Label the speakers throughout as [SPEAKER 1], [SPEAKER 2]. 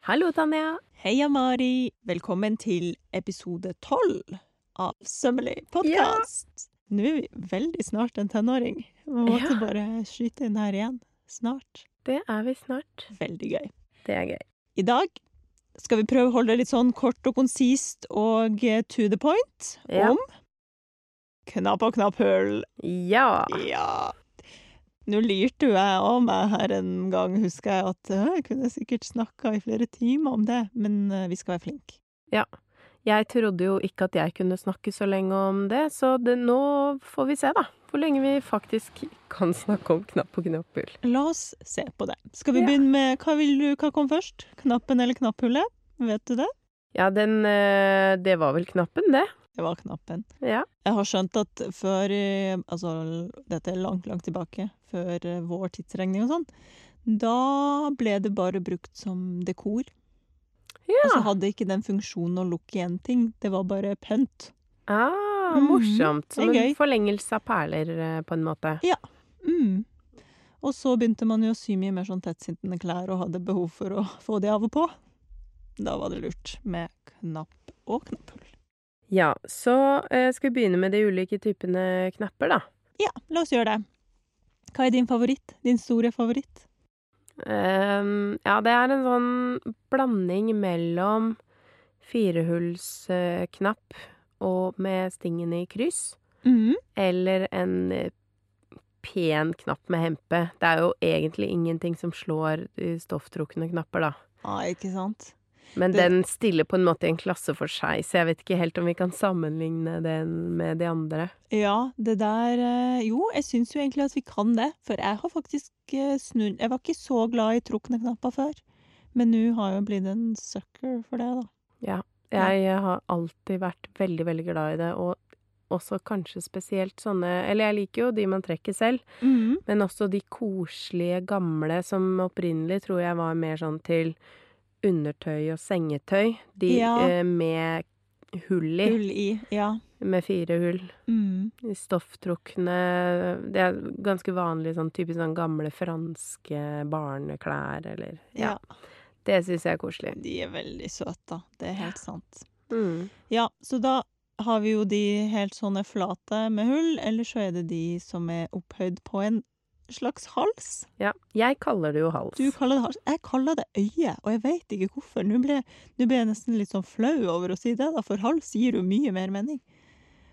[SPEAKER 1] Hallo, Tanja.
[SPEAKER 2] Heia, Mari! Velkommen til episode tolv av Sømmelig podkast! Nå er vi veldig snart en tenåring. Vi måtte
[SPEAKER 1] Ja.
[SPEAKER 2] bare skyte inn her igjen. Snart.
[SPEAKER 1] Det er vi snart.
[SPEAKER 2] Veldig gøy.
[SPEAKER 1] Det er gøy.
[SPEAKER 2] I dag skal vi prøve å holde det litt sånn kort og konsist og eh, to the point
[SPEAKER 1] Ja.
[SPEAKER 2] om knapp og knapphull.
[SPEAKER 1] Ja.
[SPEAKER 2] Ja. Nå lyrte jo jeg av meg her en gang, husker jeg, at «Å, jeg kunne sikkert snakka i flere timer om det, men eh, vi skal være flinke.
[SPEAKER 1] Jeg trodde jo ikke at jeg kunne snakke så lenge om det, så det, nå får vi se, da. Hvor lenge vi faktisk kan snakke om knapp og knapphull.
[SPEAKER 2] La oss se på det. Skal vi
[SPEAKER 1] Ja.
[SPEAKER 2] begynne med hva, vil du, hva kom først? Knappen eller knapphullet? Vet du det?
[SPEAKER 1] Ja, den eh, Det var vel knappen, det.
[SPEAKER 2] Det var knappen.
[SPEAKER 1] Ja.
[SPEAKER 2] Jeg har skjønt at før eh, Altså, l- dette er langt, langt tilbake. Før eh, vår tidsregning og sånn. Da ble det bare brukt som dekor.
[SPEAKER 1] Ja.
[SPEAKER 2] Og så hadde ikke den funksjonen å lukke igjen ting. Det var bare pynt.
[SPEAKER 1] Ah,
[SPEAKER 2] Mhm.
[SPEAKER 1] morsomt. Som
[SPEAKER 2] Det er
[SPEAKER 1] en
[SPEAKER 2] gøy.
[SPEAKER 1] forlengelse av perler, eh, på en måte.
[SPEAKER 2] Mm. Og så begynte man jo å sy mye mer sånn tettsittende klær og hadde behov for å få de av og på. Da var det lurt med knapp og knapphull.
[SPEAKER 1] Ja, så eh, skal vi begynne med de ulike typene knapper, da.
[SPEAKER 2] Ja, la oss gjøre det. Hva er din favoritt? Din store favoritt?
[SPEAKER 1] Ehm, ja, det er en sånn blanding mellom firehullsknapp og med stingen i kryss,
[SPEAKER 2] Mm.
[SPEAKER 1] eller en eh, pen knapp med hempe. Det er jo egentlig ingenting som slår de stofftrukne knapper, da.
[SPEAKER 2] Ja, ikke sant?
[SPEAKER 1] Men
[SPEAKER 2] Det-
[SPEAKER 1] den stiller på en måte i en klasse for seg, så jeg vet ikke helt om vi kan sammenligne den med de andre.
[SPEAKER 2] Ja, det der eh, Jo, jeg syns jo egentlig at vi kan det, for jeg har faktisk eh, snudd Jeg var ikke så glad i trukne knapper før, men nå har jeg jo blitt en sucker for det, da.
[SPEAKER 1] Jeg eh, har alltid vært veldig, veldig glad i det, og også kanskje spesielt sånne Eller jeg liker jo de man trekker selv,
[SPEAKER 2] Mm.
[SPEAKER 1] men også de koselige, gamle som opprinnelig tror jeg var mer sånn til undertøy og sengetøy. De
[SPEAKER 2] Ja.
[SPEAKER 1] eh, med hull i,
[SPEAKER 2] Hull i. Ja.
[SPEAKER 1] med fire hull.
[SPEAKER 2] Mm.
[SPEAKER 1] De Stofftrukne Det er ganske vanlig sånn typisk sånn gamle franske barneklær eller Ja.
[SPEAKER 2] ja.
[SPEAKER 1] Det syns jeg er koselig.
[SPEAKER 2] De er veldig søte, da. Det er helt sant.
[SPEAKER 1] Mm.
[SPEAKER 2] Ja, så da har vi jo de helt sånne flate med hull, eller så er det de som er opphøyd på en slags hals.
[SPEAKER 1] Ja. Jeg kaller det jo hals.
[SPEAKER 2] Du kaller det hals. Jeg kaller det øye, og jeg vet ikke hvorfor. Nå ble, nå ble jeg nesten litt sånn flau over å si det, da, for hals gir jo mye mer mening.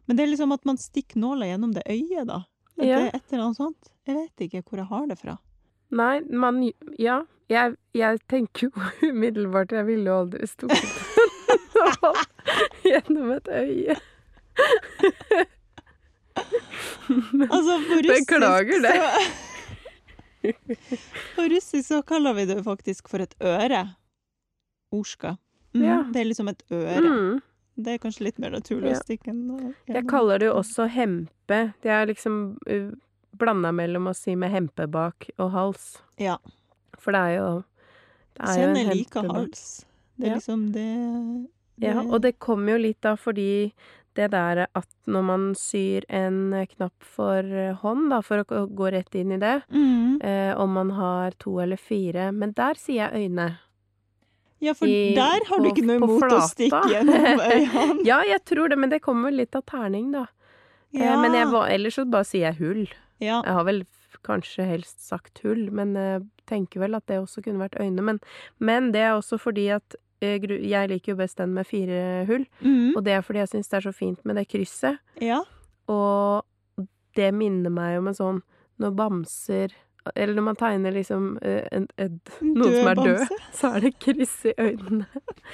[SPEAKER 2] Men det er liksom at man stikker nåla gjennom det øyet, da. At
[SPEAKER 1] Ja.
[SPEAKER 2] Det er et eller annet sånt. Jeg vet ikke hvor jeg har det fra.
[SPEAKER 1] Nei, man Ja. Jeg, jeg tenker jo umiddelbart Jeg ville jo aldri stukket hånd gjennom et øye.
[SPEAKER 2] Altså, på russisk
[SPEAKER 1] Beklager det.
[SPEAKER 2] Så, på russisk så kaller vi det jo faktisk for et øre. Orska. Mhm,
[SPEAKER 1] Ja.
[SPEAKER 2] Det er liksom et øre.
[SPEAKER 1] Mm.
[SPEAKER 2] Det er kanskje litt mer naturlig
[SPEAKER 1] Ja.
[SPEAKER 2] å stikke en
[SPEAKER 1] Jeg kaller det jo også hempe. Det er liksom uh, blanda mellom å si med hempe bak og hals.
[SPEAKER 2] Ja.
[SPEAKER 1] For det er jo det er jo
[SPEAKER 2] Kjenner
[SPEAKER 1] en
[SPEAKER 2] like
[SPEAKER 1] hempe bak.
[SPEAKER 2] hals. Det er
[SPEAKER 1] Ja.
[SPEAKER 2] liksom det
[SPEAKER 1] Ja, og det kommer jo litt da fordi det der at når man syr en eh, knapp for eh, hånd, da, for å gå- gå rett inn i det,
[SPEAKER 2] Mm.
[SPEAKER 1] eh, om man har to eller fire. Men der sier jeg øyne.
[SPEAKER 2] Ja, for
[SPEAKER 1] i-
[SPEAKER 2] der har du
[SPEAKER 1] på-
[SPEAKER 2] ikke noe
[SPEAKER 1] på
[SPEAKER 2] imot å
[SPEAKER 1] flata.
[SPEAKER 2] stikke gjennom øynene.
[SPEAKER 1] Ja, jeg tror det, men det kommer vel litt av terning, da. Eh, Men jeg, var- ellers så bare sier jeg hull.
[SPEAKER 2] ja.
[SPEAKER 1] Jeg har vel f- kanskje helst sagt hull, men eh, tenker vel at det også kunne vært øyne. Men, men det er også fordi at eh, gru- jeg liker jo best den med fire hull,
[SPEAKER 2] Mm.
[SPEAKER 1] og det er fordi jeg syns det er så fint med det krysset.
[SPEAKER 2] ja.
[SPEAKER 1] Og det minner meg om en sånn når bamser Eller når man tegner liksom eh, en, en, noen som er død.
[SPEAKER 2] bamse.
[SPEAKER 1] så er det kryss i øynene.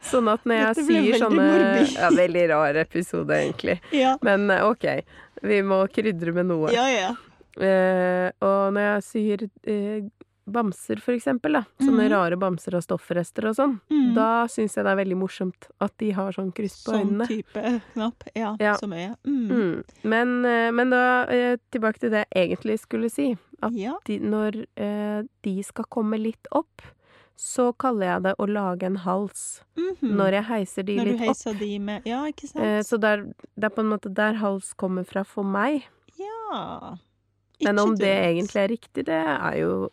[SPEAKER 1] Sånn at når jeg
[SPEAKER 2] Dette ble
[SPEAKER 1] sier
[SPEAKER 2] veldig
[SPEAKER 1] sånne
[SPEAKER 2] morbid.
[SPEAKER 1] ja, Veldig rar episode, egentlig.
[SPEAKER 2] Ja.
[SPEAKER 1] Men eh, OK, vi må krydre med noe.
[SPEAKER 2] ja, ja.
[SPEAKER 1] Eh, og når jeg syr eh, bamser, for eksempel, da, sånne
[SPEAKER 2] Mhm.
[SPEAKER 1] rare bamser av stoffrester og sånn,
[SPEAKER 2] Mm.
[SPEAKER 1] da syns jeg det er veldig morsomt at de har sånn kryss på
[SPEAKER 2] Sånn
[SPEAKER 1] øynene.
[SPEAKER 2] type knapp. Ja,
[SPEAKER 1] Ja.
[SPEAKER 2] som øye. Mm.
[SPEAKER 1] Mm. Men, eh, men da eh, tilbake til det jeg egentlig skulle si. At
[SPEAKER 2] Ja.
[SPEAKER 1] de, når eh, de skal komme litt opp, så kaller jeg det å lage en hals.
[SPEAKER 2] Mhm.
[SPEAKER 1] når jeg heiser de
[SPEAKER 2] Når du
[SPEAKER 1] litt opp.
[SPEAKER 2] heiser de med Ja, ikke sant?
[SPEAKER 1] Eh, så der, det er på en måte der hals kommer fra for meg.
[SPEAKER 2] ja.
[SPEAKER 1] Men
[SPEAKER 2] Ikke
[SPEAKER 1] om det
[SPEAKER 2] dumt.
[SPEAKER 1] egentlig er riktig, det er jo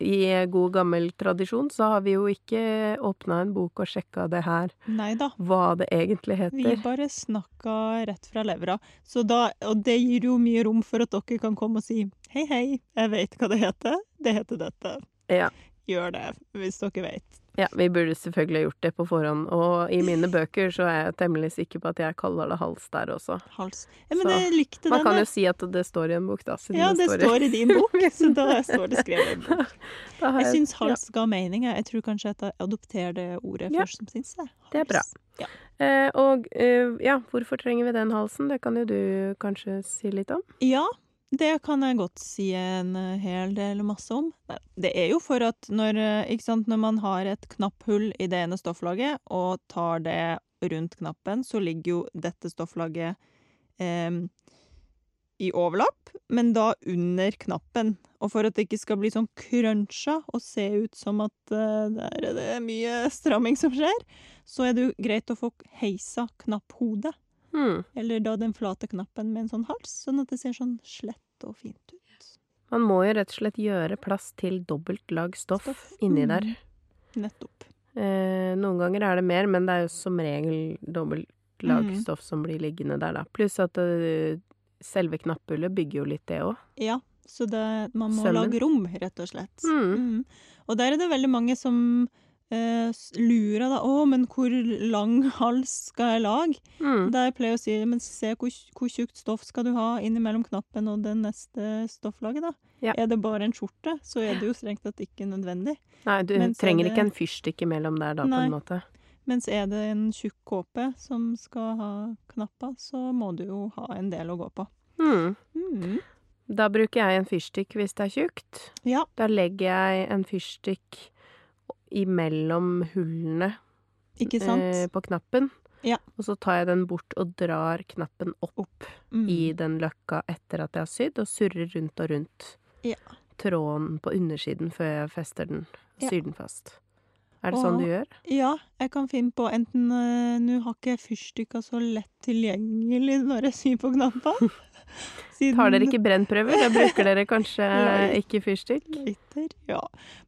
[SPEAKER 1] I god gammel tradisjon så har vi jo ikke åpna en bok og sjekka det her,
[SPEAKER 2] Nei da.
[SPEAKER 1] hva det egentlig
[SPEAKER 2] Vi
[SPEAKER 1] heter.
[SPEAKER 2] bare snakka rett fra levra. Så da, og det gir jo mye rom for at dere kan komme og si hei, hei, jeg vet hva det heter. Det heter dette.
[SPEAKER 1] Ja.
[SPEAKER 2] Gjør det, hvis dere vet.
[SPEAKER 1] Ja, vi burde selvfølgelig ha gjort det på forhånd, og i mine bøker så er jeg temmelig sikker på at jeg kaller det hals der også.
[SPEAKER 2] Hals. Ja, men
[SPEAKER 1] Så,
[SPEAKER 2] jeg likte
[SPEAKER 1] Man
[SPEAKER 2] den.
[SPEAKER 1] kan
[SPEAKER 2] der.
[SPEAKER 1] jo si at det står i en bok, da, siden
[SPEAKER 2] ja, det
[SPEAKER 1] i-
[SPEAKER 2] står i din bok, så da står det skrevet i en bok.
[SPEAKER 1] Da har
[SPEAKER 2] Jeg
[SPEAKER 1] jeg-
[SPEAKER 2] syns hals ga mening. jeg. Jeg tror kanskje at jeg adopterer det ordet
[SPEAKER 1] Ja.
[SPEAKER 2] først som sist. jeg.
[SPEAKER 1] Det er bra.
[SPEAKER 2] Hals. Ja.
[SPEAKER 1] Eh, og eh, ja, hvorfor trenger vi den halsen? Det kan jo du kanskje si litt om?
[SPEAKER 2] Ja, det kan jeg godt si en eh, hel del masse om. Nei, Det er jo for at når, eh, ikke sant, når man har et knapphull i det ene stofflaget, og tar det rundt knappen, så ligger jo dette stofflaget em, i overlapp, men da under knappen. Og for at det ikke skal bli sånn cruncha og se ut som at eh, der er det mye stramming som skjer, så er det jo greit å få heisa knapphodet.
[SPEAKER 1] Hmm.
[SPEAKER 2] Eller da den flate knappen med en sånn hals, sånn at det ser sånn slett og fint ut.
[SPEAKER 1] Man må jo rett og slett gjøre plass til dobbelt lag stoff,
[SPEAKER 2] Stoff.
[SPEAKER 1] inni
[SPEAKER 2] Mm.
[SPEAKER 1] der.
[SPEAKER 2] Nettopp.
[SPEAKER 1] Eh, noen ganger er det mer, men det er jo som regel dobbelt lag
[SPEAKER 2] Mm.
[SPEAKER 1] stoff som blir liggende der, da. Pluss at eh, selve knapphullet bygger jo litt det òg.
[SPEAKER 2] Ja, så det, man må
[SPEAKER 1] Sømmen.
[SPEAKER 2] lage rom, rett og slett.
[SPEAKER 1] Mm.
[SPEAKER 2] Mm. Og der er det veldig mange som eh, s- lurer da, å, men hvor lang hals skal jeg lage?
[SPEAKER 1] Mm.
[SPEAKER 2] Der pleier jeg å si, men se hvor, tj- hvor tjukt stoff skal du ha innimellom knappen og det neste stofflaget da.
[SPEAKER 1] Ja.
[SPEAKER 2] Er det bare en skjorte, så er det jo strengt tatt ikke nødvendig.
[SPEAKER 1] Nei, du
[SPEAKER 2] Men så er
[SPEAKER 1] trenger
[SPEAKER 2] det-
[SPEAKER 1] ikke en fyrstikk imellom der, da, på
[SPEAKER 2] Nei.
[SPEAKER 1] en måte.
[SPEAKER 2] Mens er det en tjukk kåpe som skal ha knapper, så må du jo ha en del å gå på.
[SPEAKER 1] Mm. Da bruker jeg en fyrstikk hvis det er tjukt.
[SPEAKER 2] Ja.
[SPEAKER 1] Da legger jeg en fyrstikk imellom hullene
[SPEAKER 2] Ikke
[SPEAKER 1] eh,
[SPEAKER 2] sant?
[SPEAKER 1] på knappen.
[SPEAKER 2] Ja.
[SPEAKER 1] Og så tar jeg den bort og drar knappen opp
[SPEAKER 2] Mm.
[SPEAKER 1] i den løkka etter at jeg har sydd, og surrer rundt og rundt
[SPEAKER 2] Ja.
[SPEAKER 1] tråden på undersiden før jeg fester den.
[SPEAKER 2] Ja.
[SPEAKER 1] Syr den fast. Er det sånn
[SPEAKER 2] Og-
[SPEAKER 1] du gjør?
[SPEAKER 2] Ja, jeg kan finne på enten eh, Nå har ikke fyrstikker så lett tilgjengelig når jeg syr på knappene. Siden
[SPEAKER 1] Tar dere ikke brennprøver? Da bruker dere kanskje
[SPEAKER 2] Nei.
[SPEAKER 1] ikke fyrstikk?
[SPEAKER 2] Glitter, ja.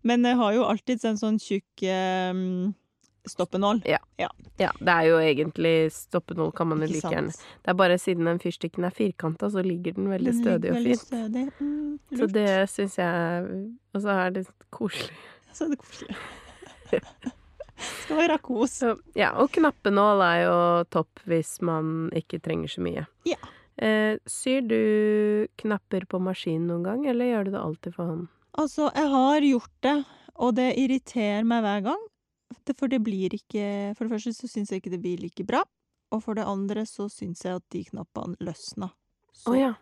[SPEAKER 2] Men jeg har jo alltid en sånn tjukk eh, stoppenål.
[SPEAKER 1] Ja, det er jo egentlig stoppenål, kan man jo
[SPEAKER 2] Ikke
[SPEAKER 1] like
[SPEAKER 2] sant?
[SPEAKER 1] gjerne. Det er bare siden den fyrstikken er firkanta, så ligger den veldig
[SPEAKER 2] Den
[SPEAKER 1] stødig
[SPEAKER 2] ligger
[SPEAKER 1] og fin.
[SPEAKER 2] veldig stødig. Mm,
[SPEAKER 1] Så
[SPEAKER 2] lurt.
[SPEAKER 1] det syns jeg Og så er det koselig.
[SPEAKER 2] Så er det koselig. Skal være kos.
[SPEAKER 1] Så, ja, og knappenål er jo topp hvis man ikke trenger så mye.
[SPEAKER 2] Ja.
[SPEAKER 1] Eh, syr du knapper på maskin noen gang, eller gjør du det alltid for hånd?
[SPEAKER 2] Altså, jeg har gjort det, og det irriterer meg hver gang. Det- For det blir ikke For det første så syns jeg ikke det blir like bra. Og for det andre så syns jeg at de knappene løsna.
[SPEAKER 1] Å
[SPEAKER 2] Så
[SPEAKER 1] ja.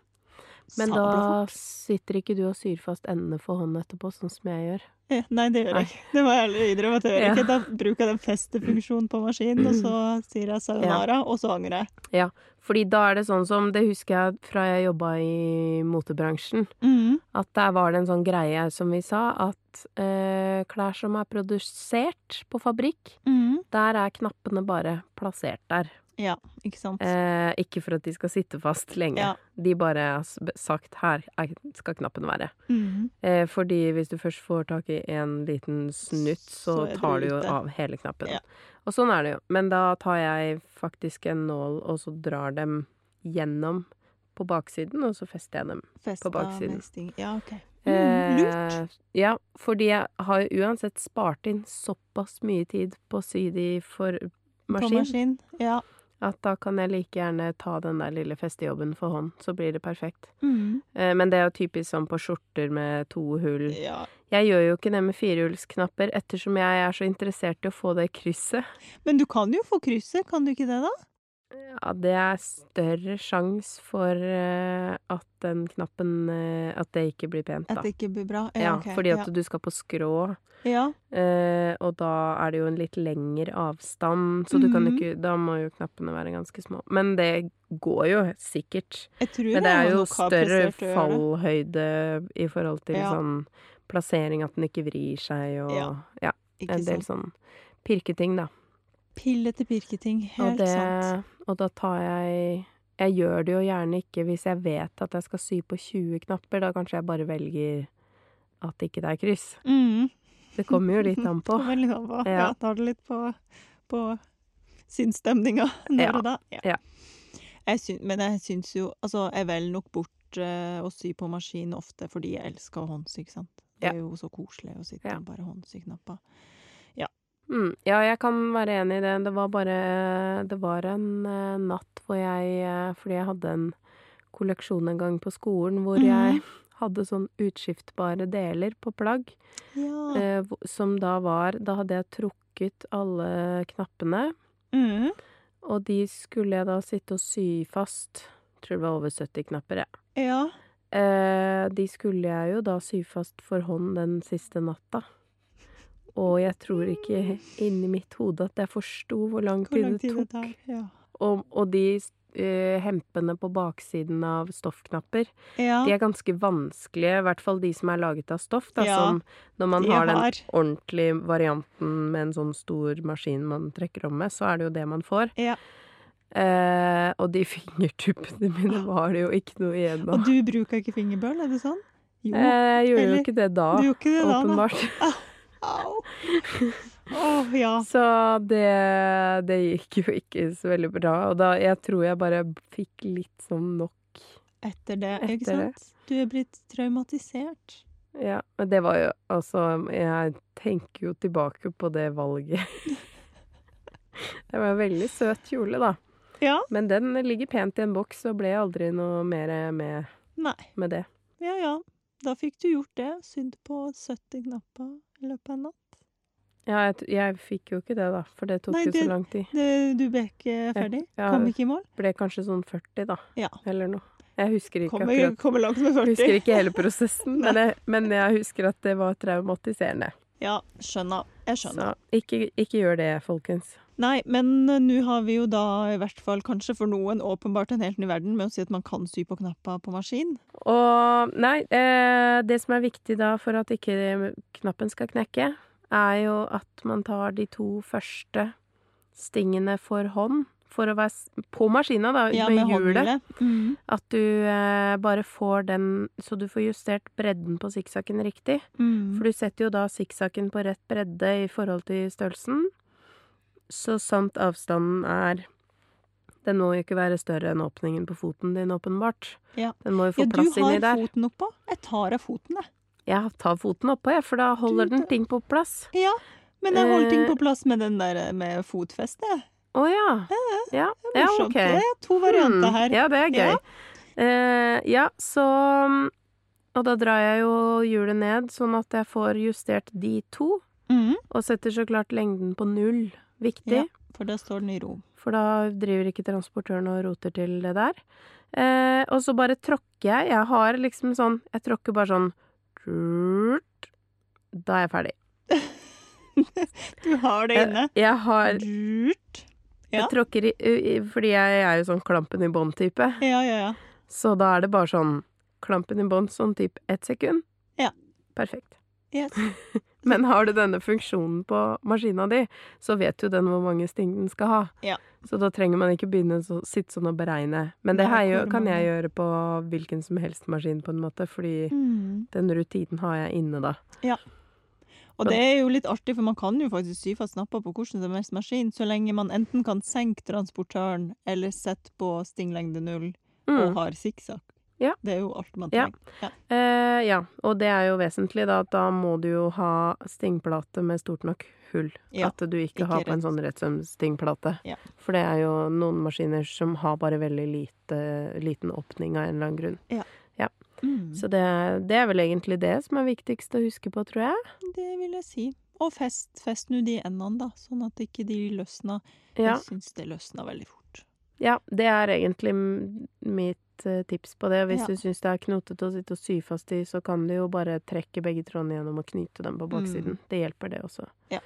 [SPEAKER 1] Men
[SPEAKER 2] sabla
[SPEAKER 1] da
[SPEAKER 2] fort.
[SPEAKER 1] sitter ikke du og syr fast endene for hånd etterpå, sånn som jeg gjør.
[SPEAKER 2] Eh, Nei, det gjør
[SPEAKER 1] Nei.
[SPEAKER 2] jeg ikke. Det må jeg ærlig innrømme at jeg gjør
[SPEAKER 1] Ja.
[SPEAKER 2] ikke. Da bruker jeg den festefunksjonen på maskinen, og så sier jeg sayonara, og så angrer jeg.
[SPEAKER 1] Fordi da er det sånn som Det husker jeg fra jeg jobba i motebransjen.
[SPEAKER 2] Mm.
[SPEAKER 1] At der var det en sånn greie, som vi sa, at eh, klær som er produsert på fabrikk,
[SPEAKER 2] Mm.
[SPEAKER 1] der er knappene bare plassert der.
[SPEAKER 2] Ja, ikke sant.
[SPEAKER 1] Eh, ikke for at de skal sitte fast lenge.
[SPEAKER 2] Ja.
[SPEAKER 1] De bare har s- sagt 'her er, skal knappen være'.
[SPEAKER 2] Mm.
[SPEAKER 1] Eh, fordi hvis du først får tak i en liten snutt, så,
[SPEAKER 2] Så er du
[SPEAKER 1] tar du jo
[SPEAKER 2] ute.
[SPEAKER 1] av hele knappen.
[SPEAKER 2] Ja.
[SPEAKER 1] Og sånn er det jo. Men da tar jeg faktisk en nål, og så drar dem gjennom på baksiden, og så fester jeg dem.
[SPEAKER 2] Festa
[SPEAKER 1] baksiden.
[SPEAKER 2] med sting. Ja, OK. Mm. Lurt.
[SPEAKER 1] Eh, ja, fordi jeg har jo uansett spart inn såpass mye tid på å sy de for
[SPEAKER 2] På
[SPEAKER 1] maskin.
[SPEAKER 2] maskin. Ja.
[SPEAKER 1] At da kan jeg like gjerne ta den der lille festejobben for hånd, så blir det perfekt.
[SPEAKER 2] Mm.
[SPEAKER 1] Eh, Men det er jo typisk sånn på skjorter med to hull.
[SPEAKER 2] ja.
[SPEAKER 1] Jeg gjør jo ikke det med firehullsknapper, ettersom jeg er så interessert i å få det krysset.
[SPEAKER 2] Men du kan jo få krysset, kan du ikke det, da?
[SPEAKER 1] Ja, det er større sjanse for eh, at den knappen eh, At det ikke blir pent,
[SPEAKER 2] At
[SPEAKER 1] da.
[SPEAKER 2] det ikke blir bra? Ja,
[SPEAKER 1] Ja,
[SPEAKER 2] ok.
[SPEAKER 1] fordi at
[SPEAKER 2] ja.
[SPEAKER 1] du skal på skrå,
[SPEAKER 2] ja.
[SPEAKER 1] eh, og da er det jo en litt lengre avstand, så du kan
[SPEAKER 2] Mhm.
[SPEAKER 1] ikke Da må jo knappene være ganske små. Men det går jo sikkert.
[SPEAKER 2] Jeg tror
[SPEAKER 1] Men det
[SPEAKER 2] jeg
[SPEAKER 1] er
[SPEAKER 2] har
[SPEAKER 1] jo
[SPEAKER 2] nok har
[SPEAKER 1] større
[SPEAKER 2] prestert å gjøre det.
[SPEAKER 1] fallhøyde i forhold til
[SPEAKER 2] Ja.
[SPEAKER 1] sånn plassering, at den ikke vrir seg og ja,
[SPEAKER 2] Ja, Ikke
[SPEAKER 1] en del
[SPEAKER 2] sant?
[SPEAKER 1] sånn pirketing, da.
[SPEAKER 2] Pillete pirketing.
[SPEAKER 1] Og,
[SPEAKER 2] Helt sant.
[SPEAKER 1] det, og da tar jeg Jeg gjør det jo gjerne ikke hvis jeg vet at jeg skal sy på 20 knapper, da kanskje jeg bare velger at ikke det er kryss.
[SPEAKER 2] Mm.
[SPEAKER 1] Det kommer jo litt an på.
[SPEAKER 2] Kommer litt an på. Ja.
[SPEAKER 1] Ja.
[SPEAKER 2] tar det litt på, på sinnsstemninga der
[SPEAKER 1] Ja.
[SPEAKER 2] og da.
[SPEAKER 1] Ja.
[SPEAKER 2] Jeg syn, men jeg syns jo Altså, jeg velger nok bort eh, å sy på maskin ofte fordi jeg elsker håndsy, ikke sant. Det
[SPEAKER 1] Ja.
[SPEAKER 2] er jo så koselig å sitte
[SPEAKER 1] Ja.
[SPEAKER 2] og bare håndsy knapper.
[SPEAKER 1] Mm, ja, jeg kan være enig i det. Det var bare Det var en eh, natt hvor jeg eh, Fordi jeg hadde en kolleksjon en gang på skolen hvor
[SPEAKER 2] Mhm.
[SPEAKER 1] jeg hadde sånn utskiftbare deler på plagg.
[SPEAKER 2] Ja.
[SPEAKER 1] eh, hvor- som da var Da hadde jeg trukket alle knappene,
[SPEAKER 2] Mm.
[SPEAKER 1] og de skulle jeg da sitte og sy fast. Tror det var over 70 knapper, jeg.
[SPEAKER 2] ja.
[SPEAKER 1] Eh, de skulle jeg jo da sy fast for hånd den siste natta. Og jeg tror ikke inni mitt hode at jeg forsto hvor lang
[SPEAKER 2] Mm. Hvor
[SPEAKER 1] tid
[SPEAKER 2] lang
[SPEAKER 1] det
[SPEAKER 2] tid
[SPEAKER 1] tok.
[SPEAKER 2] det tar. Ja.
[SPEAKER 1] Og, og de eh, hempene på baksiden av stoffknapper,
[SPEAKER 2] ja.
[SPEAKER 1] de er ganske vanskelige. I hvert fall de som er laget av stoff, da,
[SPEAKER 2] Ja,
[SPEAKER 1] som når man
[SPEAKER 2] de
[SPEAKER 1] har den
[SPEAKER 2] har.
[SPEAKER 1] ordentlige varianten med en sånn stor maskin man trekker om med, så er det jo det man får.
[SPEAKER 2] Ja.
[SPEAKER 1] Eh, og de fingertuppene mine var det jo ikke noe igjen av.
[SPEAKER 2] Og du bruker ikke fingerbøl, er det sånn? Jo,
[SPEAKER 1] Eh, Jeg gjorde
[SPEAKER 2] eller-
[SPEAKER 1] jo ikke det da,
[SPEAKER 2] du gjorde ikke det da, da.
[SPEAKER 1] åpenbart.
[SPEAKER 2] Au! Åh, ja.
[SPEAKER 1] Så det, det gikk jo ikke så veldig bra. Og da, jeg tror jeg bare fikk litt sånn nok.
[SPEAKER 2] Etter det, ikke
[SPEAKER 1] Etter det.
[SPEAKER 2] sant? Du er blitt traumatisert.
[SPEAKER 1] Ja, men det var jo Altså, jeg tenker jo tilbake på det valget. Det var en veldig søt kjole, da.
[SPEAKER 2] Ja.
[SPEAKER 1] Men den ligger pent i en boks, og ble aldri noe mer med,
[SPEAKER 2] Nei.
[SPEAKER 1] med det.
[SPEAKER 2] Ja, ja. Da fikk du gjort det. Sydd på 70 knapper i løpet av en natt.
[SPEAKER 1] Ja, jeg, t- jeg fikk jo ikke det, da, for det tok
[SPEAKER 2] Nei,
[SPEAKER 1] jo
[SPEAKER 2] det-
[SPEAKER 1] så lang tid.
[SPEAKER 2] Det- Du ble ikke ferdig?
[SPEAKER 1] ja.
[SPEAKER 2] Kom ikke i mål?
[SPEAKER 1] Ble kanskje sånn 40, da,
[SPEAKER 2] Ja.
[SPEAKER 1] eller noe. Jeg husker ikke
[SPEAKER 2] Kommer,
[SPEAKER 1] akkurat.
[SPEAKER 2] kommer langt med
[SPEAKER 1] Jeg husker
[SPEAKER 2] 40.
[SPEAKER 1] ikke hele prosessen, men jeg, men jeg husker at det var traumatiserende.
[SPEAKER 2] Ja, skjønner. Jeg
[SPEAKER 1] Så
[SPEAKER 2] skjønner.
[SPEAKER 1] ikke, ikke gjør det, folkens.
[SPEAKER 2] Nei, men eh, nå har vi jo da i hvert fall kanskje for noen åpenbart en helt ny verden med å si at man kan sy på knapper på maskin.
[SPEAKER 1] Og nei, eh, det som er viktig da for at ikke knappen skal knekke, er jo at man tar de to første stingene for hånd, for å være s- på maskina, da,
[SPEAKER 2] Ja,
[SPEAKER 1] med,
[SPEAKER 2] med
[SPEAKER 1] hjulet.
[SPEAKER 2] håndhjulet. Mm.
[SPEAKER 1] At du eh, bare får den Så du får justert bredden på sikksakken riktig.
[SPEAKER 2] Mm.
[SPEAKER 1] For du setter jo da sikksakken på rett bredde i forhold til størrelsen. Så sant avstanden er Den må jo ikke være større enn åpningen på foten din, åpenbart.
[SPEAKER 2] Ja.
[SPEAKER 1] Den må jo
[SPEAKER 2] Ja,
[SPEAKER 1] få plass inni
[SPEAKER 2] Du har
[SPEAKER 1] der.
[SPEAKER 2] foten oppå. Jeg tar av foten, jeg.
[SPEAKER 1] Jeg tar foten oppå, jeg, for da holder
[SPEAKER 2] Du
[SPEAKER 1] den
[SPEAKER 2] tar-
[SPEAKER 1] ting på plass.
[SPEAKER 2] Ja, men jeg holdt ting
[SPEAKER 1] Eh.
[SPEAKER 2] på plass med den der eh, med fotfeste.
[SPEAKER 1] Å ja. Ja,
[SPEAKER 2] Det
[SPEAKER 1] ja
[SPEAKER 2] er morsomt.
[SPEAKER 1] ok.
[SPEAKER 2] Det er to varianter
[SPEAKER 1] Hmm,
[SPEAKER 2] her.
[SPEAKER 1] Ja, det er gøy.
[SPEAKER 2] Ja.
[SPEAKER 1] Eh, ja, så Og da drar jeg jo hjulet ned, sånn at jeg får justert de to.
[SPEAKER 2] Mm.
[SPEAKER 1] Og setter så klart lengden på null. Viktig.
[SPEAKER 2] Ja. For da står den i ro.
[SPEAKER 1] For da driver ikke transportøren og roter til det der. Eh, og så bare tråkker jeg. Jeg har liksom sånn Jeg tråkker bare sånn turt. Da er jeg ferdig.
[SPEAKER 2] Du har det inne.
[SPEAKER 1] Jeg Eh, har
[SPEAKER 2] Lurt. Ja.
[SPEAKER 1] Jeg tråkker i, i Fordi jeg er jo sånn klampen i bånd-type.
[SPEAKER 2] Ja, ja, ja.
[SPEAKER 1] Så da er det bare sånn klampen i bånd, sånn type ett sekund.
[SPEAKER 2] Ja.
[SPEAKER 1] Perfekt.
[SPEAKER 2] Yes.
[SPEAKER 1] Men har du denne funksjonen på maskina di, så vet jo den hvor mange sting den skal ha.
[SPEAKER 2] Ja.
[SPEAKER 1] Så da trenger man ikke begynne å så- sitte sånn og beregne. Men det
[SPEAKER 2] Nei,
[SPEAKER 1] her gjør-
[SPEAKER 2] hvor
[SPEAKER 1] kan jeg
[SPEAKER 2] mange?
[SPEAKER 1] gjøre på hvilken som helst maskin, på en måte, fordi
[SPEAKER 2] Mm.
[SPEAKER 1] den rutinen har jeg inne da.
[SPEAKER 2] Og det er jo litt artig, for man kan jo faktisk sy fast napper på hvordan som helst maskin, så lenge man enten kan senke transportøren eller sette på stinglengde null og
[SPEAKER 1] Mm.
[SPEAKER 2] har sikksakk.
[SPEAKER 1] Ja.
[SPEAKER 2] Det er jo alt man
[SPEAKER 1] Ja.
[SPEAKER 2] trenger. Ja.
[SPEAKER 1] Eh, ja, og det er jo vesentlig, da, at da må du jo ha stingplate med stort nok hull.
[SPEAKER 2] Ja,
[SPEAKER 1] At du ikke,
[SPEAKER 2] ikke
[SPEAKER 1] har på en
[SPEAKER 2] rett.
[SPEAKER 1] sånn rettsømstingplate.
[SPEAKER 2] Ja.
[SPEAKER 1] For det er jo noen maskiner som har bare veldig lite, liten åpning av en eller annen grunn.
[SPEAKER 2] Mm.
[SPEAKER 1] Så det, det er vel egentlig det som er viktigst å huske på, tror jeg.
[SPEAKER 2] Det vil jeg si. Og fest, fest nå de endene, da, sånn at ikke de løsna.
[SPEAKER 1] Ja,
[SPEAKER 2] Jeg syns det løsna veldig fort.
[SPEAKER 1] ja det er egentlig m- mitt eh, tips på det. Og hvis
[SPEAKER 2] Ja.
[SPEAKER 1] du syns det er knotete å sitte og sy fast i, så kan du jo bare trekke begge trådene gjennom og knyte dem på baksiden. Det hjelper, det også.
[SPEAKER 2] Mm. Ja.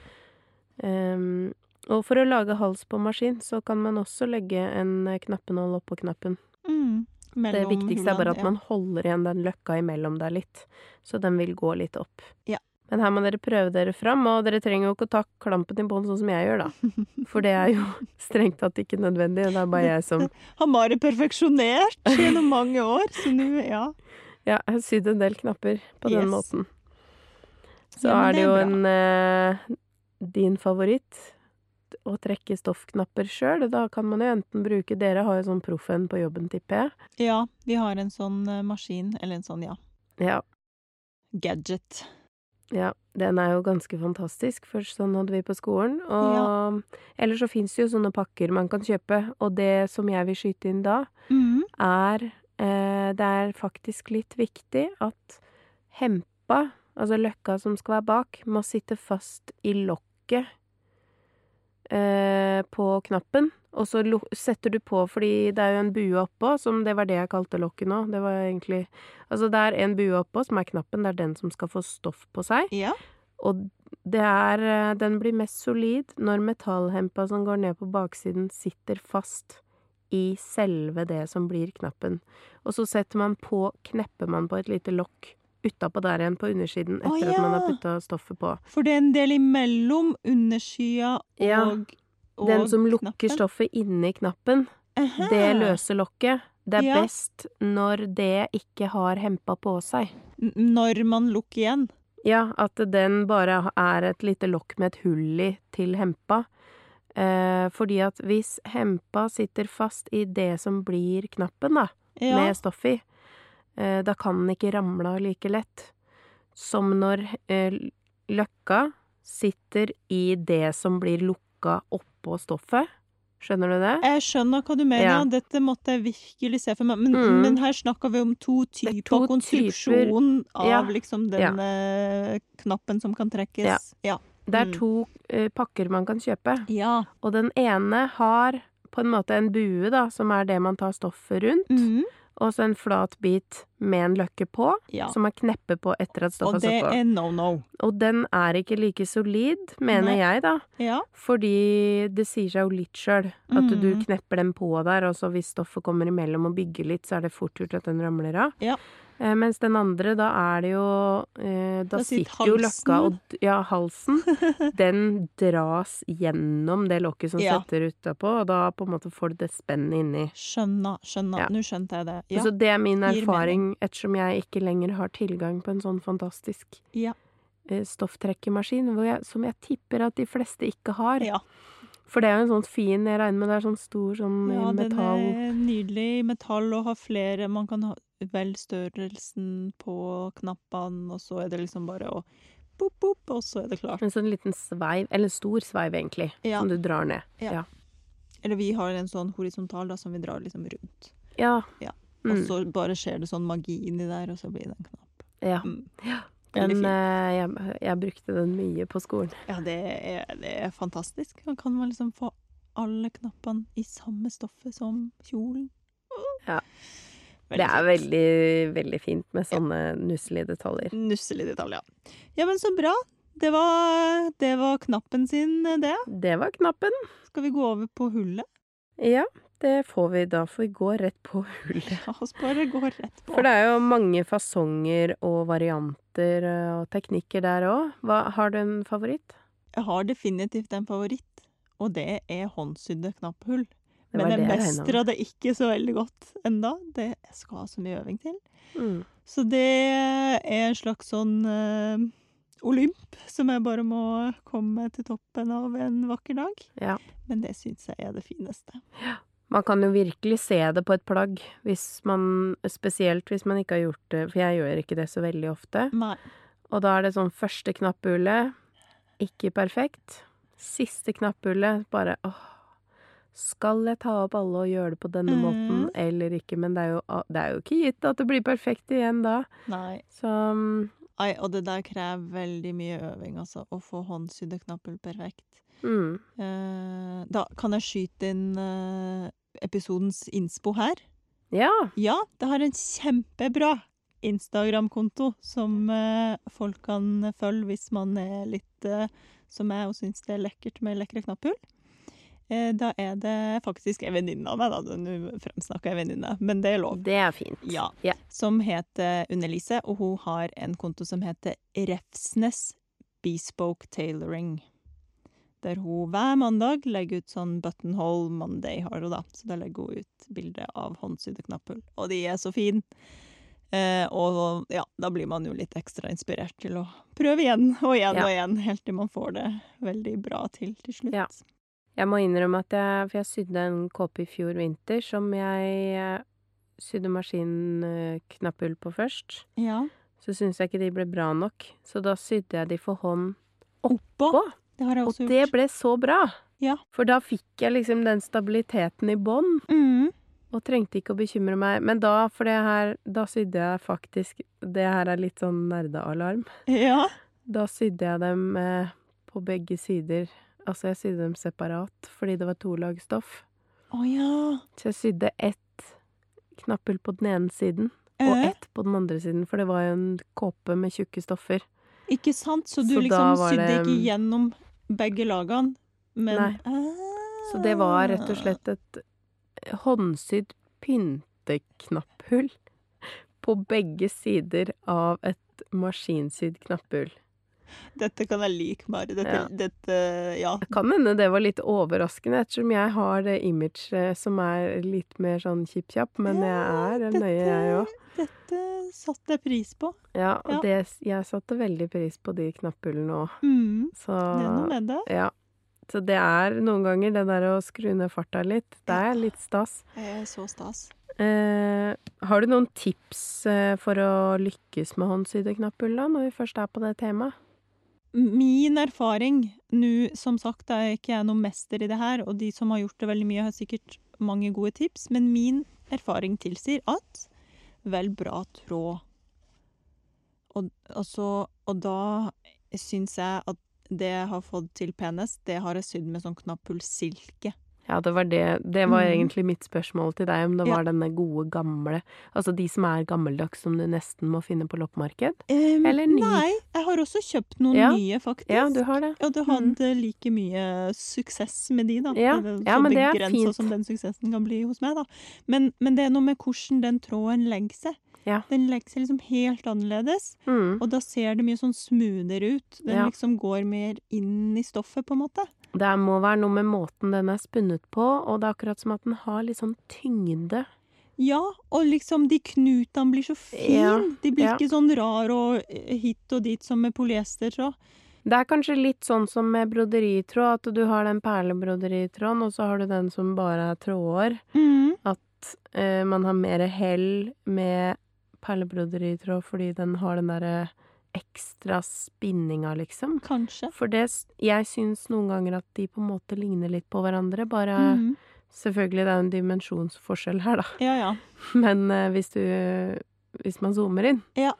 [SPEAKER 1] Ehm, og for å lage hals på maskin, så kan man også legge en eh, knappenål oppå knappen.
[SPEAKER 2] Mm.
[SPEAKER 1] Det
[SPEAKER 2] Mellom
[SPEAKER 1] viktigste er bare at
[SPEAKER 2] hullene,
[SPEAKER 1] man holder igjen den løkka imellom der litt, så den vil gå litt opp.
[SPEAKER 2] Ja.
[SPEAKER 1] Men her må dere prøve dere fram, og dere trenger jo ikke å ta klampen i bånd sånn som jeg gjør, da. For det er jo strengt tatt ikke nødvendig, det er bare jeg som
[SPEAKER 2] ja. Har Mari perfeksjonert gjennom mange år, så nå, ja.
[SPEAKER 1] Ja, jeg har sydd en del knapper på den
[SPEAKER 2] Yes.
[SPEAKER 1] måten. Så
[SPEAKER 2] Ja, men
[SPEAKER 1] er det
[SPEAKER 2] det er
[SPEAKER 1] jo
[SPEAKER 2] bra.
[SPEAKER 1] en eh, din favoritt å trekke stoffknapper sjøl. Da kan man jo enten bruke Dere har jo sånn proffen på jobben, tipper jeg.
[SPEAKER 2] Ja, vi har en sånn eh, maskin, eller en sånn, ja,
[SPEAKER 1] Ja,
[SPEAKER 2] gadget.
[SPEAKER 1] ja. Den er jo ganske fantastisk, for sånn hadde vi på skolen. Og ellers så fins det jo sånne pakker man kan kjøpe, og det som jeg vil skyte inn da,
[SPEAKER 2] Mhm.
[SPEAKER 1] er eh, Det er faktisk litt viktig at hempa, altså løkka som skal være bak, må sitte fast i lokket eh, på knappen. Og så lo setter du på, fordi det er jo en bue oppå, som det var det jeg kalte lokket nå. Det var egentlig Altså, det er en bue oppå som er knappen, det er den som skal få stoff på seg.
[SPEAKER 2] Ja.
[SPEAKER 1] Og det er eh, Den blir mest solid når metallhempa som går ned på baksiden, sitter fast i selve det som blir knappen. Og så setter man på Knepper man på et lite lokk utapå der igjen, på undersiden,
[SPEAKER 2] Å,
[SPEAKER 1] etter at man har
[SPEAKER 2] ja.
[SPEAKER 1] putta stoffet på.
[SPEAKER 2] For det er en del imellom underskya og,
[SPEAKER 1] Ja,
[SPEAKER 2] og
[SPEAKER 1] Den som lukker
[SPEAKER 2] knappen.
[SPEAKER 1] stoffet inni knappen,
[SPEAKER 2] Aha.
[SPEAKER 1] det løse lokket, det er
[SPEAKER 2] Ja.
[SPEAKER 1] best når det ikke har hempa på seg.
[SPEAKER 2] N- Når man lukker igjen.
[SPEAKER 1] Ja, at den bare er et lite lokk med et hull i til hempa. Eh, fordi at hvis hempa sitter fast i det som blir knappen, da,
[SPEAKER 2] Ja.
[SPEAKER 1] med stoff i, eh, da kan den ikke ramle av like lett som når eh, løkka sitter i det som blir lukka oppå stoffet. Skjønner du det?
[SPEAKER 2] Jeg skjønner hva du mener.
[SPEAKER 1] Ja.
[SPEAKER 2] Ja. Dette måtte jeg virkelig se for meg. Men,
[SPEAKER 1] Mm.
[SPEAKER 2] men her snakker vi om to
[SPEAKER 1] er
[SPEAKER 2] typer
[SPEAKER 1] to
[SPEAKER 2] konstruksjon av
[SPEAKER 1] Ja.
[SPEAKER 2] liksom den
[SPEAKER 1] Ja.
[SPEAKER 2] eh, knappen som kan trekkes.
[SPEAKER 1] Ja.
[SPEAKER 2] Ja.
[SPEAKER 1] Det er
[SPEAKER 2] Mm.
[SPEAKER 1] to eh, pakker man kan kjøpe.
[SPEAKER 2] Ja.
[SPEAKER 1] Og den ene har på en måte en bue, da, som er det man tar stoffet rundt,
[SPEAKER 2] Mhm.
[SPEAKER 1] og så en flat bit med en løkke på,
[SPEAKER 2] ja.
[SPEAKER 1] som man knepper på etter at
[SPEAKER 2] Og
[SPEAKER 1] stoffet
[SPEAKER 2] det
[SPEAKER 1] er satt på.
[SPEAKER 2] er no no.
[SPEAKER 1] Og den er ikke like solid, mener
[SPEAKER 2] Nei.
[SPEAKER 1] jeg, da.
[SPEAKER 2] Ja.
[SPEAKER 1] Fordi det sier seg jo litt sjøl at du
[SPEAKER 2] Mm.
[SPEAKER 1] knepper den på der, og så hvis stoffet kommer imellom og bygger litt, så er det fort gjort at den ramler av.
[SPEAKER 2] Ja.
[SPEAKER 1] Eh, mens den andre, da er det jo eh, Da
[SPEAKER 2] Da sitter
[SPEAKER 1] sitter jo løkka
[SPEAKER 2] halsen.
[SPEAKER 1] og d- Ja, halsen. Den dras gjennom det lokket som
[SPEAKER 2] Ja.
[SPEAKER 1] setter utapå, og da på en måte får du det spennet inni.
[SPEAKER 2] Skjønna, skjønna.
[SPEAKER 1] Ja.
[SPEAKER 2] Nå skjønte jeg det. Ja.
[SPEAKER 1] Så Altså, det er min
[SPEAKER 2] Gir
[SPEAKER 1] erfaring, ettersom jeg ikke lenger har tilgang på en sånn fantastisk
[SPEAKER 2] Ja.
[SPEAKER 1] eh, stofftrekkermaskin, hvor jeg, som jeg tipper at de fleste ikke har.
[SPEAKER 2] ja.
[SPEAKER 1] For det er jo en sånn fin, jeg regner med det er sånn stor sånn i
[SPEAKER 2] ja, den
[SPEAKER 1] metall.
[SPEAKER 2] er nydelig i metall og har flere Man kan ha vel størrelsen på knappene, og så er det liksom bare å boop, boop, og så er det klart.
[SPEAKER 1] En sånn liten sveiv, eller en stor sveiv egentlig,
[SPEAKER 2] Ja.
[SPEAKER 1] som du drar ned.
[SPEAKER 2] Ja. Eller vi har en sånn horisontal da, som vi drar liksom rundt.
[SPEAKER 1] Ja.
[SPEAKER 2] Ja. Og
[SPEAKER 1] Mm.
[SPEAKER 2] så bare skjer det sånn magi inni der, og så blir det en knapp.
[SPEAKER 1] ja.
[SPEAKER 2] Mm.
[SPEAKER 1] Den,
[SPEAKER 2] Veldig fint.
[SPEAKER 1] eh, jeg, jeg brukte den mye på skolen.
[SPEAKER 2] Ja, det er, det er fantastisk. Man kan man liksom få alle knappene i samme stoffet som kjolen.
[SPEAKER 1] Ja.
[SPEAKER 2] Veldig
[SPEAKER 1] det er
[SPEAKER 2] fint.
[SPEAKER 1] veldig, veldig fint med sånne nusselige detaljer.
[SPEAKER 2] Nusselig detalj, ja. Ja, men så bra. Det var, det var knappen sin, det.
[SPEAKER 1] Det var knappen.
[SPEAKER 2] Skal vi gå over på hullet?
[SPEAKER 1] Ja, det får vi da, for vi går rett på hullet.
[SPEAKER 2] La oss bare gå rett på.
[SPEAKER 1] For det er jo mange fasonger og varianter eh, og teknikker der òg. Har du en favoritt?
[SPEAKER 2] Jeg har definitivt en favoritt, og det er håndsydde knapphull.
[SPEAKER 1] Det
[SPEAKER 2] Men
[SPEAKER 1] var
[SPEAKER 2] jeg
[SPEAKER 1] det jeg regnet med.
[SPEAKER 2] mestra det ikke så veldig godt enda. Det jeg skal ha så mye øving til.
[SPEAKER 1] Mm.
[SPEAKER 2] Så det er en slags sånn eh, olymp som jeg bare må komme til toppen av en vakker dag.
[SPEAKER 1] Ja.
[SPEAKER 2] Men det syns jeg er det fineste.
[SPEAKER 1] Man kan jo virkelig se det på et plagg, hvis man, spesielt hvis man ikke har gjort det, for jeg gjør ikke det så veldig ofte.
[SPEAKER 2] Nei.
[SPEAKER 1] Og da er det sånn første knapphullet, ikke perfekt. Siste knapphullet, bare åh, skal jeg ta opp alle og gjøre det på denne
[SPEAKER 2] Mhm.
[SPEAKER 1] måten eller ikke? Men det er, jo, ah, det er jo ikke gitt at det blir perfekt igjen da.
[SPEAKER 2] Nei.
[SPEAKER 1] Så mm,
[SPEAKER 2] Ai, og det der krever veldig mye øving, altså. Å få håndsydde knapphull perfekt.
[SPEAKER 1] mm,
[SPEAKER 2] Eh, da kan jeg skyte inn eh, episodens innspo her.
[SPEAKER 1] ja.
[SPEAKER 2] Ja, det har en kjempebra Instagram-konto som eh, folk kan følge hvis man er litt eh, som jeg og syns det er lekkert med lekre knapphull. Eh, da er det faktisk en venninne av meg, da. Nå fremsnakker jeg venninne, men det er lov.
[SPEAKER 1] Det er fint.
[SPEAKER 2] Ja.
[SPEAKER 1] Ja.
[SPEAKER 2] Som heter Unnelise, og hun har en konto som heter Refsnes Bespoke Tailoring. Der hun hver mandag legger ut sånn buttonhole Monday, har hun da. Så da legger hun ut bilde av håndsydde knapphull. Og de er så fine! Eh, og ja, da blir man jo litt ekstra inspirert til å prøve igjen og igjen
[SPEAKER 1] Ja.
[SPEAKER 2] og igjen, helt til man får det veldig bra til til slutt.
[SPEAKER 1] Ja. Jeg må innrømme at jeg For jeg sydde en kåpe i fjor vinter som jeg eh, sydde maskinknapphull på først.
[SPEAKER 2] Ja.
[SPEAKER 1] Så syntes jeg ikke de ble bra nok, så da sydde jeg de for hånd.
[SPEAKER 2] Oppå.
[SPEAKER 1] Oppå.
[SPEAKER 2] Det har jeg
[SPEAKER 1] Og
[SPEAKER 2] også
[SPEAKER 1] det
[SPEAKER 2] gjort.
[SPEAKER 1] ble så bra!
[SPEAKER 2] Ja.
[SPEAKER 1] For da fikk jeg liksom den stabiliteten i bånn,
[SPEAKER 2] Mm.
[SPEAKER 1] og trengte ikke å bekymre meg. Men da, for det her, da sydde jeg faktisk Det her er litt sånn nerdealarm.
[SPEAKER 2] Ja.
[SPEAKER 1] Da sydde jeg dem eh, på begge sider. Altså, jeg sydde dem separat fordi det var to lag stoff.
[SPEAKER 2] Å ja.
[SPEAKER 1] Så jeg sydde ett knapphull på den ene siden og
[SPEAKER 2] Eh,
[SPEAKER 1] ett på den andre siden, for det var jo en kåpe med tjukke stoffer.
[SPEAKER 2] ikke sant? Så
[SPEAKER 1] Så
[SPEAKER 2] du
[SPEAKER 1] da
[SPEAKER 2] liksom
[SPEAKER 1] var
[SPEAKER 2] sydde
[SPEAKER 1] det-
[SPEAKER 2] ikke gjennom begge lagene, men
[SPEAKER 1] Nei.
[SPEAKER 2] Ah.
[SPEAKER 1] Så det var rett og slett et håndsydd pynteknapphull på begge sider av et maskinsydd knapphull.
[SPEAKER 2] Dette kan jeg like bare. Dette,
[SPEAKER 1] Ja.
[SPEAKER 2] ja. dette ja.
[SPEAKER 1] Det kan hende det var litt overraskende, ettersom jeg har det imaget eh, som er litt mer sånn kjipp-kjapp, men jeg er nøye, jeg òg.
[SPEAKER 2] Dette satte jeg pris på.
[SPEAKER 1] Ja, og
[SPEAKER 2] Ja.
[SPEAKER 1] Det, jeg satte veldig pris på de knapphullene òg,
[SPEAKER 2] Mm.
[SPEAKER 1] så
[SPEAKER 2] Det er noe med det.
[SPEAKER 1] Ja. Så det er noen ganger det der å skru ned farta litt, det er litt stas.
[SPEAKER 2] Det er så stas.
[SPEAKER 1] Eh, har du noen tips eh, for å lykkes med håndsydde knapphull, da, når vi først er på det temaet?
[SPEAKER 2] Min erfaring nå, som sagt, er ikke jeg noen mester i det her, og de som har gjort det veldig mye, har sikkert mange gode tips, men min erfaring tilsier at vel bra tråd. Og, altså, og da syns jeg at det jeg har fått til penest, det har jeg sydd med sånn knapphullsilke.
[SPEAKER 1] Ja, det var det. Det var
[SPEAKER 2] Mhm.
[SPEAKER 1] egentlig mitt spørsmål til deg, om det
[SPEAKER 2] Ja.
[SPEAKER 1] var denne gode, gamle Altså de som er gammeldags, som du nesten må finne på loppemarked?
[SPEAKER 2] Um,
[SPEAKER 1] Eller ny.
[SPEAKER 2] Nei, jeg har også kjøpt noen
[SPEAKER 1] Ja.
[SPEAKER 2] nye, faktisk.
[SPEAKER 1] Ja, du har det.
[SPEAKER 2] Og du hadde like mye suksess med de, da.
[SPEAKER 1] Mm. Ja,
[SPEAKER 2] Eller
[SPEAKER 1] ja,
[SPEAKER 2] så
[SPEAKER 1] men det er
[SPEAKER 2] begrenset
[SPEAKER 1] fint.
[SPEAKER 2] som den suksessen kan bli hos meg, da. Men, men det er noe med hvordan den tråden legger seg.
[SPEAKER 1] Ja.
[SPEAKER 2] Den legger seg liksom helt annerledes,
[SPEAKER 1] Mm.
[SPEAKER 2] og da ser det mye sånn smoothere ut. Den
[SPEAKER 1] Ja.
[SPEAKER 2] liksom går mer inn i stoffet, på en måte.
[SPEAKER 1] Det må være noe med måten den er spunnet på, og det er akkurat som at den har litt sånn tyngde.
[SPEAKER 2] Ja, og liksom de knutene blir så fine.
[SPEAKER 1] Ja,
[SPEAKER 2] De blir
[SPEAKER 1] ja.
[SPEAKER 2] ikke sånn rar og eh, hit og dit som med polyestertråd.
[SPEAKER 1] Det er kanskje litt sånn som med broderitråd, at du har den perlebroderitråden, og så har du den som bare er tråder.
[SPEAKER 2] Mm.
[SPEAKER 1] Eh, man har mer hell med perlebroderitråd fordi den har den derre ekstra spinninga, liksom.
[SPEAKER 2] Kanskje.
[SPEAKER 1] For det, s- jeg syns noen ganger at de på en måte ligner litt på hverandre, bare
[SPEAKER 2] Mm.
[SPEAKER 1] Selvfølgelig det er en dimensjonsforskjell her, da,
[SPEAKER 2] Ja, ja.
[SPEAKER 1] men eh, hvis du Hvis man zoomer inn.
[SPEAKER 2] Ja.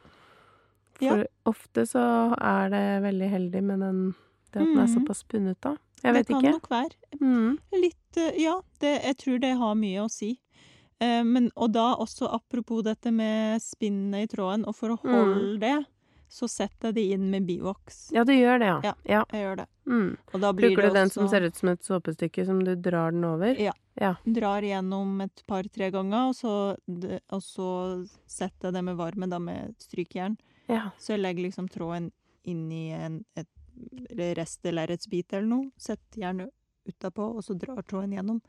[SPEAKER 2] Ja.
[SPEAKER 1] For ofte så er det veldig heldig med den det at den er
[SPEAKER 2] Mhm.
[SPEAKER 1] såpass spunnet, da. Jeg vet
[SPEAKER 2] det kan
[SPEAKER 1] ikke.
[SPEAKER 2] nok være.
[SPEAKER 1] Mm.
[SPEAKER 2] Litt, eh, ja. Det, jeg tror det har mye å si. Eh, men, og da også apropos dette med spinnet i tråden, og for å
[SPEAKER 1] Mm.
[SPEAKER 2] holde det, så setter jeg det inn med bivoks.
[SPEAKER 1] Ja, du gjør det, ja.
[SPEAKER 2] Ja.
[SPEAKER 1] ja.
[SPEAKER 2] Jeg gjør det.
[SPEAKER 1] Mm.
[SPEAKER 2] Og da blir
[SPEAKER 1] Bruker du
[SPEAKER 2] det
[SPEAKER 1] den
[SPEAKER 2] også
[SPEAKER 1] som ser ut som et såpestykke, som du drar den over?
[SPEAKER 2] Ja. Drar igjennom et par-tre ganger, og så, d- og så setter jeg det med varme, da med strykejern.
[SPEAKER 1] Ja.
[SPEAKER 2] Så jeg legger liksom tråden inni en et rest- eller lerretsbit eller noe, setter jernet utapå, og så drar tråden gjennom.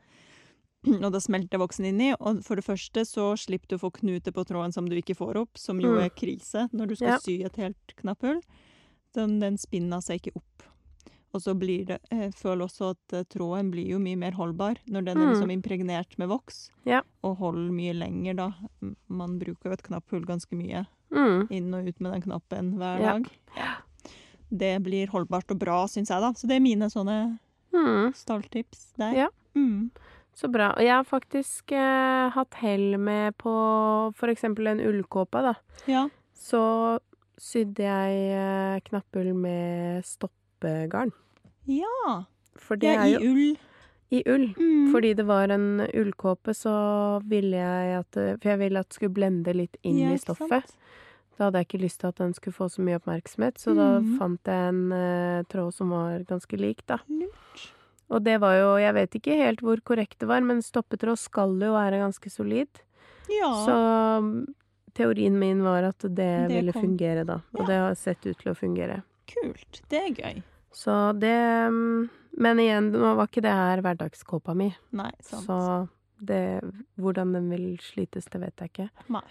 [SPEAKER 2] Og da smelter voksen inni, og for det første så slipper du å få knute på tråden som du ikke får opp, som jo
[SPEAKER 1] Mm.
[SPEAKER 2] er krise når du skal
[SPEAKER 1] Ja.
[SPEAKER 2] sy et helt knapphull. Den, den spinner seg ikke opp. Og så blir det Jeg føler også at eh, tråden blir jo mye mer holdbar når den er
[SPEAKER 1] Mm.
[SPEAKER 2] liksom impregnert med voks,
[SPEAKER 1] Ja.
[SPEAKER 2] og holder mye lenger da. M- Man bruker jo et knapphull ganske mye
[SPEAKER 1] Mm.
[SPEAKER 2] inn og ut med den knappen hver
[SPEAKER 1] Ja.
[SPEAKER 2] dag. Det blir holdbart og bra, syns jeg, da. Så det er mine sånne
[SPEAKER 1] Mm.
[SPEAKER 2] stalltips der.
[SPEAKER 1] Ja.
[SPEAKER 2] Mm.
[SPEAKER 1] Så bra. Og jeg har faktisk eh, hatt hell med på for eksempel en ullkåpe, da.
[SPEAKER 2] ja.
[SPEAKER 1] Så sydde jeg eh, knapphull med stoppegarn.
[SPEAKER 2] Ja.
[SPEAKER 1] For det
[SPEAKER 2] Det er
[SPEAKER 1] er
[SPEAKER 2] i
[SPEAKER 1] jo
[SPEAKER 2] ull.
[SPEAKER 1] i ull.
[SPEAKER 2] Mm.
[SPEAKER 1] Fordi det var en ullkåpe, så ville jeg at det- For jeg ville at det skulle blende litt inn
[SPEAKER 2] Ja,
[SPEAKER 1] i
[SPEAKER 2] ikke sant?
[SPEAKER 1] stoffet. Da hadde jeg ikke lyst til at den skulle få så mye oppmerksomhet, så da
[SPEAKER 2] Mhm.
[SPEAKER 1] fant jeg en eh, tråd som var ganske lik, da.
[SPEAKER 2] Lurt.
[SPEAKER 1] Og det var jo Jeg vet ikke helt hvor korrekt det var, men stoppetråd skal jo være ganske solid.
[SPEAKER 2] Ja.
[SPEAKER 1] Så mm, teorien min var at det,
[SPEAKER 2] Det
[SPEAKER 1] ville
[SPEAKER 2] kom.
[SPEAKER 1] fungere, da. Og det har sett ut til å fungere.
[SPEAKER 2] Kult. Det er gøy.
[SPEAKER 1] Så det mm, Men igjen, nå var ikke det her hverdagskåpa mi,
[SPEAKER 2] Nei, sant.
[SPEAKER 1] så det Hvordan den vil slites, det vet jeg ikke.
[SPEAKER 2] Nei.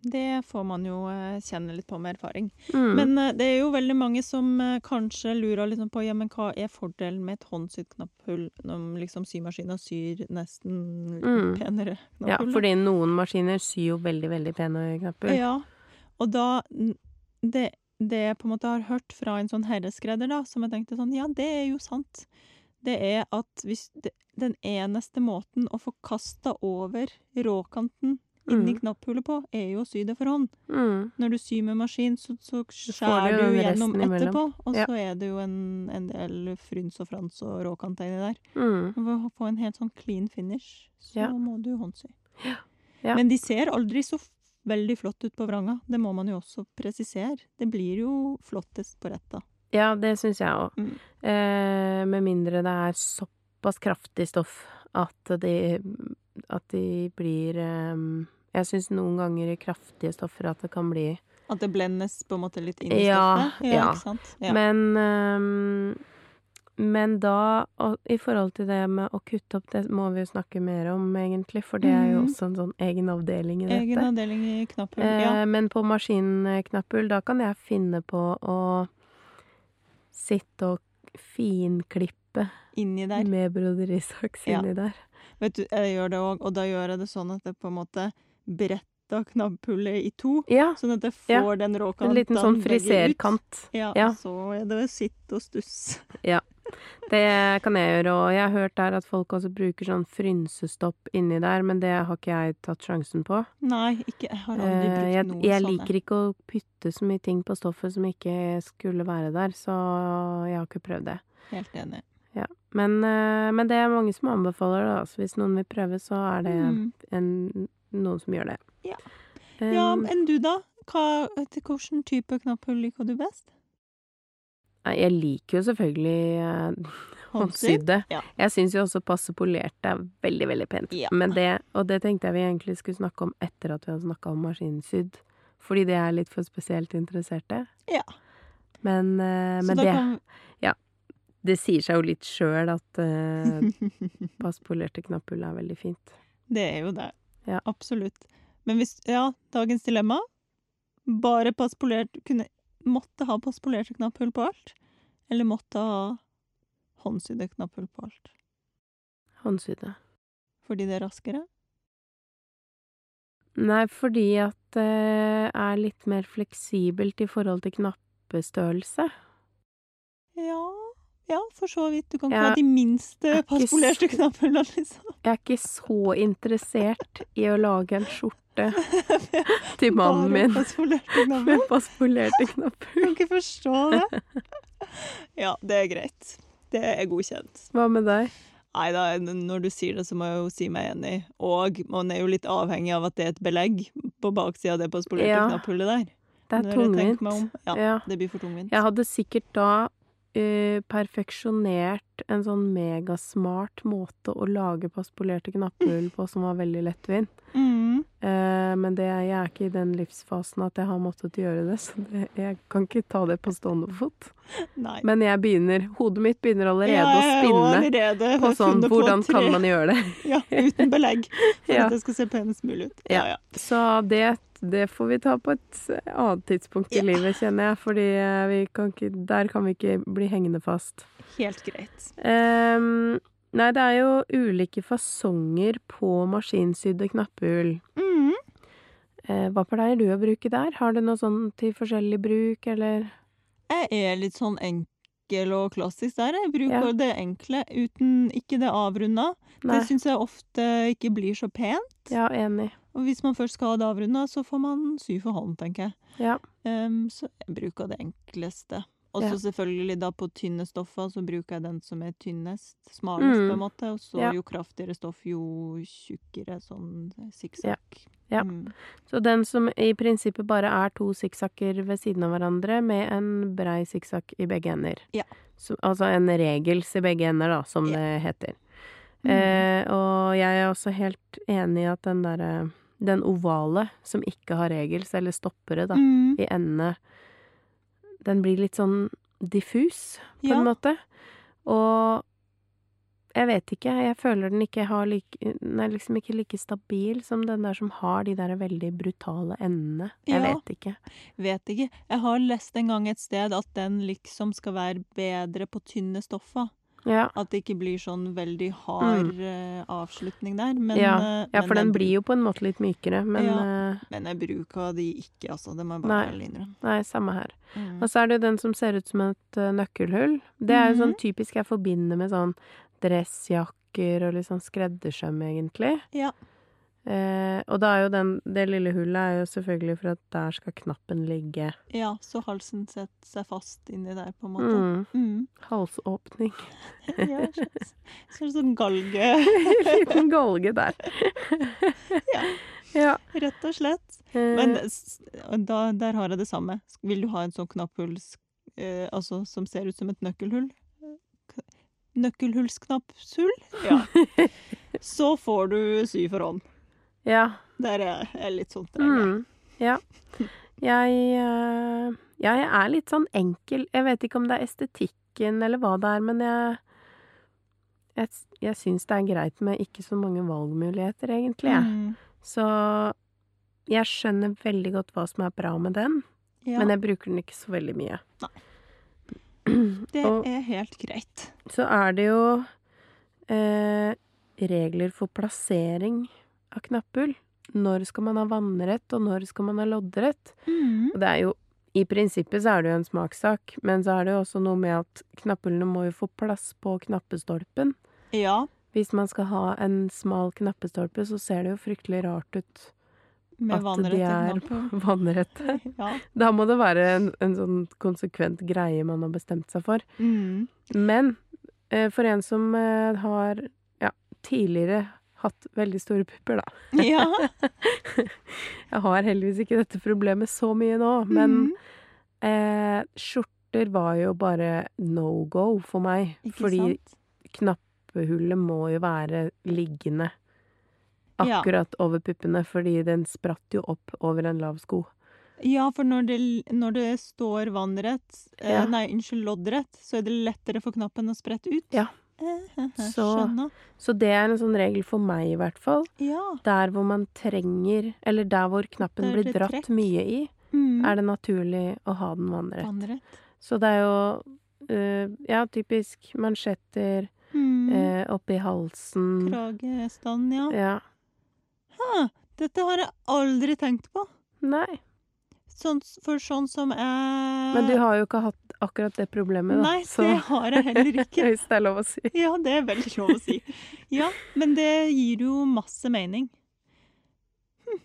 [SPEAKER 2] Det får man jo eh, kjenne litt på med erfaring.
[SPEAKER 1] Mm.
[SPEAKER 2] Men eh, det er jo veldig mange som eh, kanskje lurer liksom på ja, men hva er fordelen med et håndsydd knapphull når liksom symaskina syr nesten
[SPEAKER 1] Mm.
[SPEAKER 2] penere knapphull?
[SPEAKER 1] ja,
[SPEAKER 2] da?
[SPEAKER 1] fordi noen maskiner syr jo veldig, veldig pene knapper.
[SPEAKER 2] Ja, og da n- det, det jeg på en måte har hørt fra en sånn herreskredder, da, som jeg tenkte sånn Ja, det er jo sant. Det er at hvis det, den eneste måten å få kasta over råkanten inni
[SPEAKER 1] Mm.
[SPEAKER 2] knapphullet på, er jo å sy det for hånd.
[SPEAKER 1] Mm.
[SPEAKER 2] Når du syr med maskin, så, så
[SPEAKER 1] du
[SPEAKER 2] skjærer
[SPEAKER 1] jo
[SPEAKER 2] du,
[SPEAKER 1] den
[SPEAKER 2] gjennom
[SPEAKER 1] resten imellom.
[SPEAKER 2] etterpå. Og
[SPEAKER 1] Ja.
[SPEAKER 2] så er det jo en, en del fryns og frans og råkant inni der.
[SPEAKER 1] Mm.
[SPEAKER 2] Men For å få en helt sånn clean finish, så
[SPEAKER 1] Ja.
[SPEAKER 2] må du håndsy.
[SPEAKER 1] Ja.
[SPEAKER 2] Men de ser aldri så f- veldig flott ut på vranga. Det må man jo også presisere. Det blir jo flottest på retta.
[SPEAKER 1] Ja, det syns jeg òg.
[SPEAKER 2] Mm.
[SPEAKER 1] Eh, med mindre det er såpass kraftig stoff at de, at de blir eh, Jeg syns noen ganger i kraftige stoffer at det kan bli
[SPEAKER 2] At det blendes på en måte litt inn i
[SPEAKER 1] Ja,
[SPEAKER 2] stoffet.
[SPEAKER 1] ja.
[SPEAKER 2] Ikke sant? Ja.
[SPEAKER 1] Men, ehm, men da, og, i forhold til det med å kutte opp, det må vi jo snakke mer om, egentlig, for det er jo
[SPEAKER 2] Mhm.
[SPEAKER 1] også en sånn egen avdeling i dette.
[SPEAKER 2] Egen avdeling i knapphull. Ja.
[SPEAKER 1] Eh, men på maskinknapphull, da kan jeg finne på å sitte og finklippe
[SPEAKER 2] Inni der.
[SPEAKER 1] med broderisaks
[SPEAKER 2] Ja.
[SPEAKER 1] inni der.
[SPEAKER 2] Vet du, jeg gjør det òg, og da gjør jeg det sånn at jeg på en måte bretter knapphullet i to.
[SPEAKER 1] Ja,
[SPEAKER 2] Sånn at jeg
[SPEAKER 1] Ja.
[SPEAKER 2] får den råkanten
[SPEAKER 1] en liten sånn
[SPEAKER 2] begge ut.
[SPEAKER 1] friserkant.
[SPEAKER 2] Ja,
[SPEAKER 1] Ja.
[SPEAKER 2] så er det å sitte og stusse.
[SPEAKER 1] Det kan jeg gjøre, og jeg har hørt der at folk også bruker sånn frynsestopp inni der, men det har ikke jeg tatt sjansen på.
[SPEAKER 2] Nei, ikke, jeg har aldri
[SPEAKER 1] Eh,
[SPEAKER 2] brukt sånn,
[SPEAKER 1] Jeg,
[SPEAKER 2] noen
[SPEAKER 1] jeg
[SPEAKER 2] sånne.
[SPEAKER 1] liker ikke å putte så mye ting på stoffet som ikke skulle være der, så jeg har ikke prøvd det.
[SPEAKER 2] Helt enig.
[SPEAKER 1] Men, eh, men det er mange som anbefaler det, altså hvis noen vil prøve, så er det
[SPEAKER 2] Mm.
[SPEAKER 1] en, noen som gjør det.
[SPEAKER 2] Ja.
[SPEAKER 1] Um,
[SPEAKER 2] Ja, enn du da? Hva, til hvilken type knapphull liker du best?
[SPEAKER 1] nei, Jeg liker jo selvfølgelig eh,
[SPEAKER 2] Håndsydd?
[SPEAKER 1] håndsydde.
[SPEAKER 2] Ja.
[SPEAKER 1] Jeg syns jo også passe polert er veldig, veldig pent.
[SPEAKER 2] Ja.
[SPEAKER 1] Men det, og det tenkte jeg vi egentlig skulle snakke om etter at vi hadde snakka om maskinsydd. Fordi det er litt for spesielt interesserte.
[SPEAKER 2] Ja.
[SPEAKER 1] Men, eh,
[SPEAKER 2] Så
[SPEAKER 1] men
[SPEAKER 2] da
[SPEAKER 1] det
[SPEAKER 2] kan-
[SPEAKER 1] Det sier seg jo litt sjøl at uh, passpolerte knapphull er veldig fint.
[SPEAKER 2] Det er jo det.
[SPEAKER 1] Ja.
[SPEAKER 2] Absolutt. Men hvis Ja, dagens dilemma. Bare passpolert kunne, Måtte ha passpolerte knapphull på alt. Eller måtte ha håndsydde knapphull på alt.
[SPEAKER 1] Håndsydde.
[SPEAKER 2] Fordi det er raskere.
[SPEAKER 1] Nei, fordi at det er litt mer fleksibelt i forhold til knappestørrelse.
[SPEAKER 2] Ja, ja for så vidt. Du kan
[SPEAKER 1] Ja.
[SPEAKER 2] ikke ha de minste
[SPEAKER 1] Er ikke
[SPEAKER 2] passpolerte
[SPEAKER 1] så-
[SPEAKER 2] knapphullene, liksom.
[SPEAKER 1] Jeg er ikke så interessert i å lage en skjorte til mannen
[SPEAKER 2] Bare
[SPEAKER 1] min
[SPEAKER 2] passpolerte knapper.
[SPEAKER 1] med passpolerte knapper.
[SPEAKER 2] Kan ikke forstå det. Ja, det er greit. Det er godkjent.
[SPEAKER 1] Hva med deg?
[SPEAKER 2] Nei da, når du sier det, så må jeg jo si meg enig. Og man er jo litt avhengig av at det er et belegg på baksida av det passpolerte
[SPEAKER 1] Ja.
[SPEAKER 2] knapphullet der.
[SPEAKER 1] Det er
[SPEAKER 2] Når jeg tenker meg
[SPEAKER 1] tungvint.
[SPEAKER 2] om. Ja,
[SPEAKER 1] Ja.
[SPEAKER 2] det blir for tungvint.
[SPEAKER 1] Jeg hadde sikkert da eh, perfeksjonert en sånn megasmart måte å lage passpolerte knappehull på som var veldig lettvint.
[SPEAKER 2] Mm.
[SPEAKER 1] Eh, men det, jeg er ikke i den livsfasen at jeg har måttet gjøre det, så det, jeg kan ikke ta det på stående fot.
[SPEAKER 2] Nei.
[SPEAKER 1] Men jeg begynner, hodet mitt begynner allerede å spinne
[SPEAKER 2] allerede
[SPEAKER 1] på sånn
[SPEAKER 2] funnet på
[SPEAKER 1] hvordan
[SPEAKER 2] tre-
[SPEAKER 1] kan man gjøre det?
[SPEAKER 2] Ja, uten belegg. For
[SPEAKER 1] Ja.
[SPEAKER 2] at det skal se penest mulig ut.
[SPEAKER 1] Ja. Så det, det får vi ta på et annet tidspunkt i
[SPEAKER 2] Ja.
[SPEAKER 1] livet, kjenner jeg, fordi eh, vi kan ikke, der kan vi ikke bli hengende fast.
[SPEAKER 2] Helt greit.
[SPEAKER 1] Ehm, nei, det er jo ulike fasonger på maskinsydde knappehull.
[SPEAKER 2] Mm.
[SPEAKER 1] Eh, hva pleier du å bruke der? Har du noe sånn til forskjellig bruk, eller?
[SPEAKER 2] Jeg er litt sånn enkel og klassisk der. Jeg bruker
[SPEAKER 1] Ja.
[SPEAKER 2] det enkle uten ikke det avrunda. Det
[SPEAKER 1] Nei.
[SPEAKER 2] syns jeg ofte ikke blir så pent.
[SPEAKER 1] Ja, enig.
[SPEAKER 2] Og hvis man først skal ha det avrunda, så får man sy for hånd, tenker jeg.
[SPEAKER 1] Ja.
[SPEAKER 2] Ehm, så jeg bruker det enkleste. Og så
[SPEAKER 1] Ja.
[SPEAKER 2] selvfølgelig da på tynne stoffer, så bruker jeg den som er tynnest, smalest
[SPEAKER 1] Mm.
[SPEAKER 2] på en måte. Og så
[SPEAKER 1] Ja.
[SPEAKER 2] jo kraftigere stoff, jo tjukkere sånn sikksakk.
[SPEAKER 1] Ja.
[SPEAKER 2] Mm.
[SPEAKER 1] Så den som i prinsippet bare er to sikksakker ved siden av hverandre, med en brei sikksakk i begge ender.
[SPEAKER 2] Ja.
[SPEAKER 1] Så, altså en regels i begge ender, da, som
[SPEAKER 2] Ja.
[SPEAKER 1] det heter.
[SPEAKER 2] Mm.
[SPEAKER 1] Eh, og jeg er også helt enig i at den derre Den ovale som ikke har regels, eller stoppere, da,
[SPEAKER 2] Mm.
[SPEAKER 1] i endene Den blir litt sånn diffus, på
[SPEAKER 2] Ja.
[SPEAKER 1] en måte. Og Jeg vet ikke. Jeg føler den ikke har like Den er liksom ikke like stabil som den der som har de der veldig brutale endene. Jeg
[SPEAKER 2] Ja.
[SPEAKER 1] vet ikke.
[SPEAKER 2] Vet ikke. Jeg har lest en gang et sted at den liksom skal være bedre på tynne stoffer.
[SPEAKER 1] Ja.
[SPEAKER 2] At det ikke blir sånn veldig hard eh, avslutning der. Men,
[SPEAKER 1] Mm. Ja.
[SPEAKER 2] eh,
[SPEAKER 1] ja,
[SPEAKER 2] men
[SPEAKER 1] for den
[SPEAKER 2] jeg-
[SPEAKER 1] blir jo på en måte litt mykere, men eh,
[SPEAKER 2] Men jeg bruker de ikke, altså. Det må jeg bare
[SPEAKER 1] Nei.
[SPEAKER 2] ærlig innrømme.
[SPEAKER 1] Nei, samme her.
[SPEAKER 2] Mm.
[SPEAKER 1] Og så er det jo den som ser ut som et eh, nøkkelhull. Det er jo sånn
[SPEAKER 2] Mhm.
[SPEAKER 1] typisk jeg forbinder med sånn dressjakker og litt sånn skreddersøm, egentlig.
[SPEAKER 2] Ja.
[SPEAKER 1] Eh, og da er jo den, det lille hullet er jo selvfølgelig for at der skal knappen ligge.
[SPEAKER 2] ja, så halsen setter seg fast inni der, på en
[SPEAKER 1] Mm.
[SPEAKER 2] måte. Mm.
[SPEAKER 1] Halsåpning.
[SPEAKER 2] Ja, sånn- skjønt. Ser ut som galge,
[SPEAKER 1] Liten galge der.
[SPEAKER 2] Ja.
[SPEAKER 1] ja.
[SPEAKER 2] rett og slett.
[SPEAKER 1] eh,
[SPEAKER 2] Men s- da, der har jeg det samme. Sk- Vil du ha en sånn knapphull sk- eh, altså, som ser ut som et nøkkelhull? K- Nøkkelhullsknappshull? Ja. Så får du sy for hånd.
[SPEAKER 1] ja.
[SPEAKER 2] Der er jeg litt sånn treig.
[SPEAKER 1] Mm, ja. Jeg, eh, ja, jeg er litt sånn enkel. Jeg vet ikke om det er estetikken eller hva det er, men jeg, jeg, s- jeg syns det er greit med ikke så mange valgmuligheter, egentlig. jeg.
[SPEAKER 2] Mm,
[SPEAKER 1] Så jeg skjønner veldig godt hva som er bra med den,
[SPEAKER 2] ja,
[SPEAKER 1] men jeg bruker den ikke så veldig mye.
[SPEAKER 2] det
[SPEAKER 1] og-
[SPEAKER 2] er helt greit.
[SPEAKER 1] Så er det jo eh, regler for plassering av knapphull. Når skal man ha vannrett, og når skal man ha loddrett?
[SPEAKER 2] Mm.
[SPEAKER 1] Og det er jo I prinsippet så er det jo en smakssak, men så er det jo også noe med at knapphullene må jo få plass på knappestolpen.
[SPEAKER 2] Ja,
[SPEAKER 1] Hvis man skal ha en smal knappestolpe, så ser det jo fryktelig rart ut
[SPEAKER 2] med
[SPEAKER 1] at
[SPEAKER 2] vannrett
[SPEAKER 1] de er
[SPEAKER 2] knapphull.
[SPEAKER 1] vannrette.
[SPEAKER 2] Ja.
[SPEAKER 1] Da må det være en, en sånn konsekvent greie man har bestemt seg for.
[SPEAKER 2] Mm.
[SPEAKER 1] Men eh, for en som eh, har ja, tidligere hatt veldig store pupper, da
[SPEAKER 2] ja.
[SPEAKER 1] Jeg har heldigvis ikke dette problemet så mye nå, men
[SPEAKER 2] Mm.
[SPEAKER 1] Eh, skjorter var jo bare no go for meg.
[SPEAKER 2] Ikke
[SPEAKER 1] fordi
[SPEAKER 2] sant?
[SPEAKER 1] knappehullet må jo være liggende
[SPEAKER 2] Ja.
[SPEAKER 1] akkurat over puppene, fordi den spratt jo opp over en lav sko.
[SPEAKER 2] Ja, for når det, når det står vannrett, eh,
[SPEAKER 1] Ja.
[SPEAKER 2] nei, unnskyld, loddrett, så er det lettere for knappen å sprette ut.
[SPEAKER 1] Ja.
[SPEAKER 2] Eh, eh, eh,
[SPEAKER 1] Så-
[SPEAKER 2] Skjønner.
[SPEAKER 1] Så det er en sånn regel for meg, i hvert fall.
[SPEAKER 2] Ja.
[SPEAKER 1] Der hvor man trenger, eller der hvor knappen
[SPEAKER 2] Der
[SPEAKER 1] blir
[SPEAKER 2] det
[SPEAKER 1] dratt
[SPEAKER 2] trekk.
[SPEAKER 1] mye i,
[SPEAKER 2] Mm.
[SPEAKER 1] er det naturlig å ha den vannrett.
[SPEAKER 2] vannrett?
[SPEAKER 1] Så det er jo eh, ja, typisk mansjetter
[SPEAKER 2] Mm.
[SPEAKER 1] eh, oppi halsen.
[SPEAKER 2] Kragestand, ja.
[SPEAKER 1] Ja.
[SPEAKER 2] Ha, dette har jeg aldri tenkt på.
[SPEAKER 1] Nei.
[SPEAKER 2] Sånn, s- for sånn som jeg
[SPEAKER 1] Men du har jo ikke hatt akkurat det problemet, da.
[SPEAKER 2] Nei,
[SPEAKER 1] så-
[SPEAKER 2] det har jeg heller ikke.
[SPEAKER 1] Hvis det er lov å si.
[SPEAKER 2] Ja, det er veldig lov å si. Ja, men det gir jo masse mening. Hm.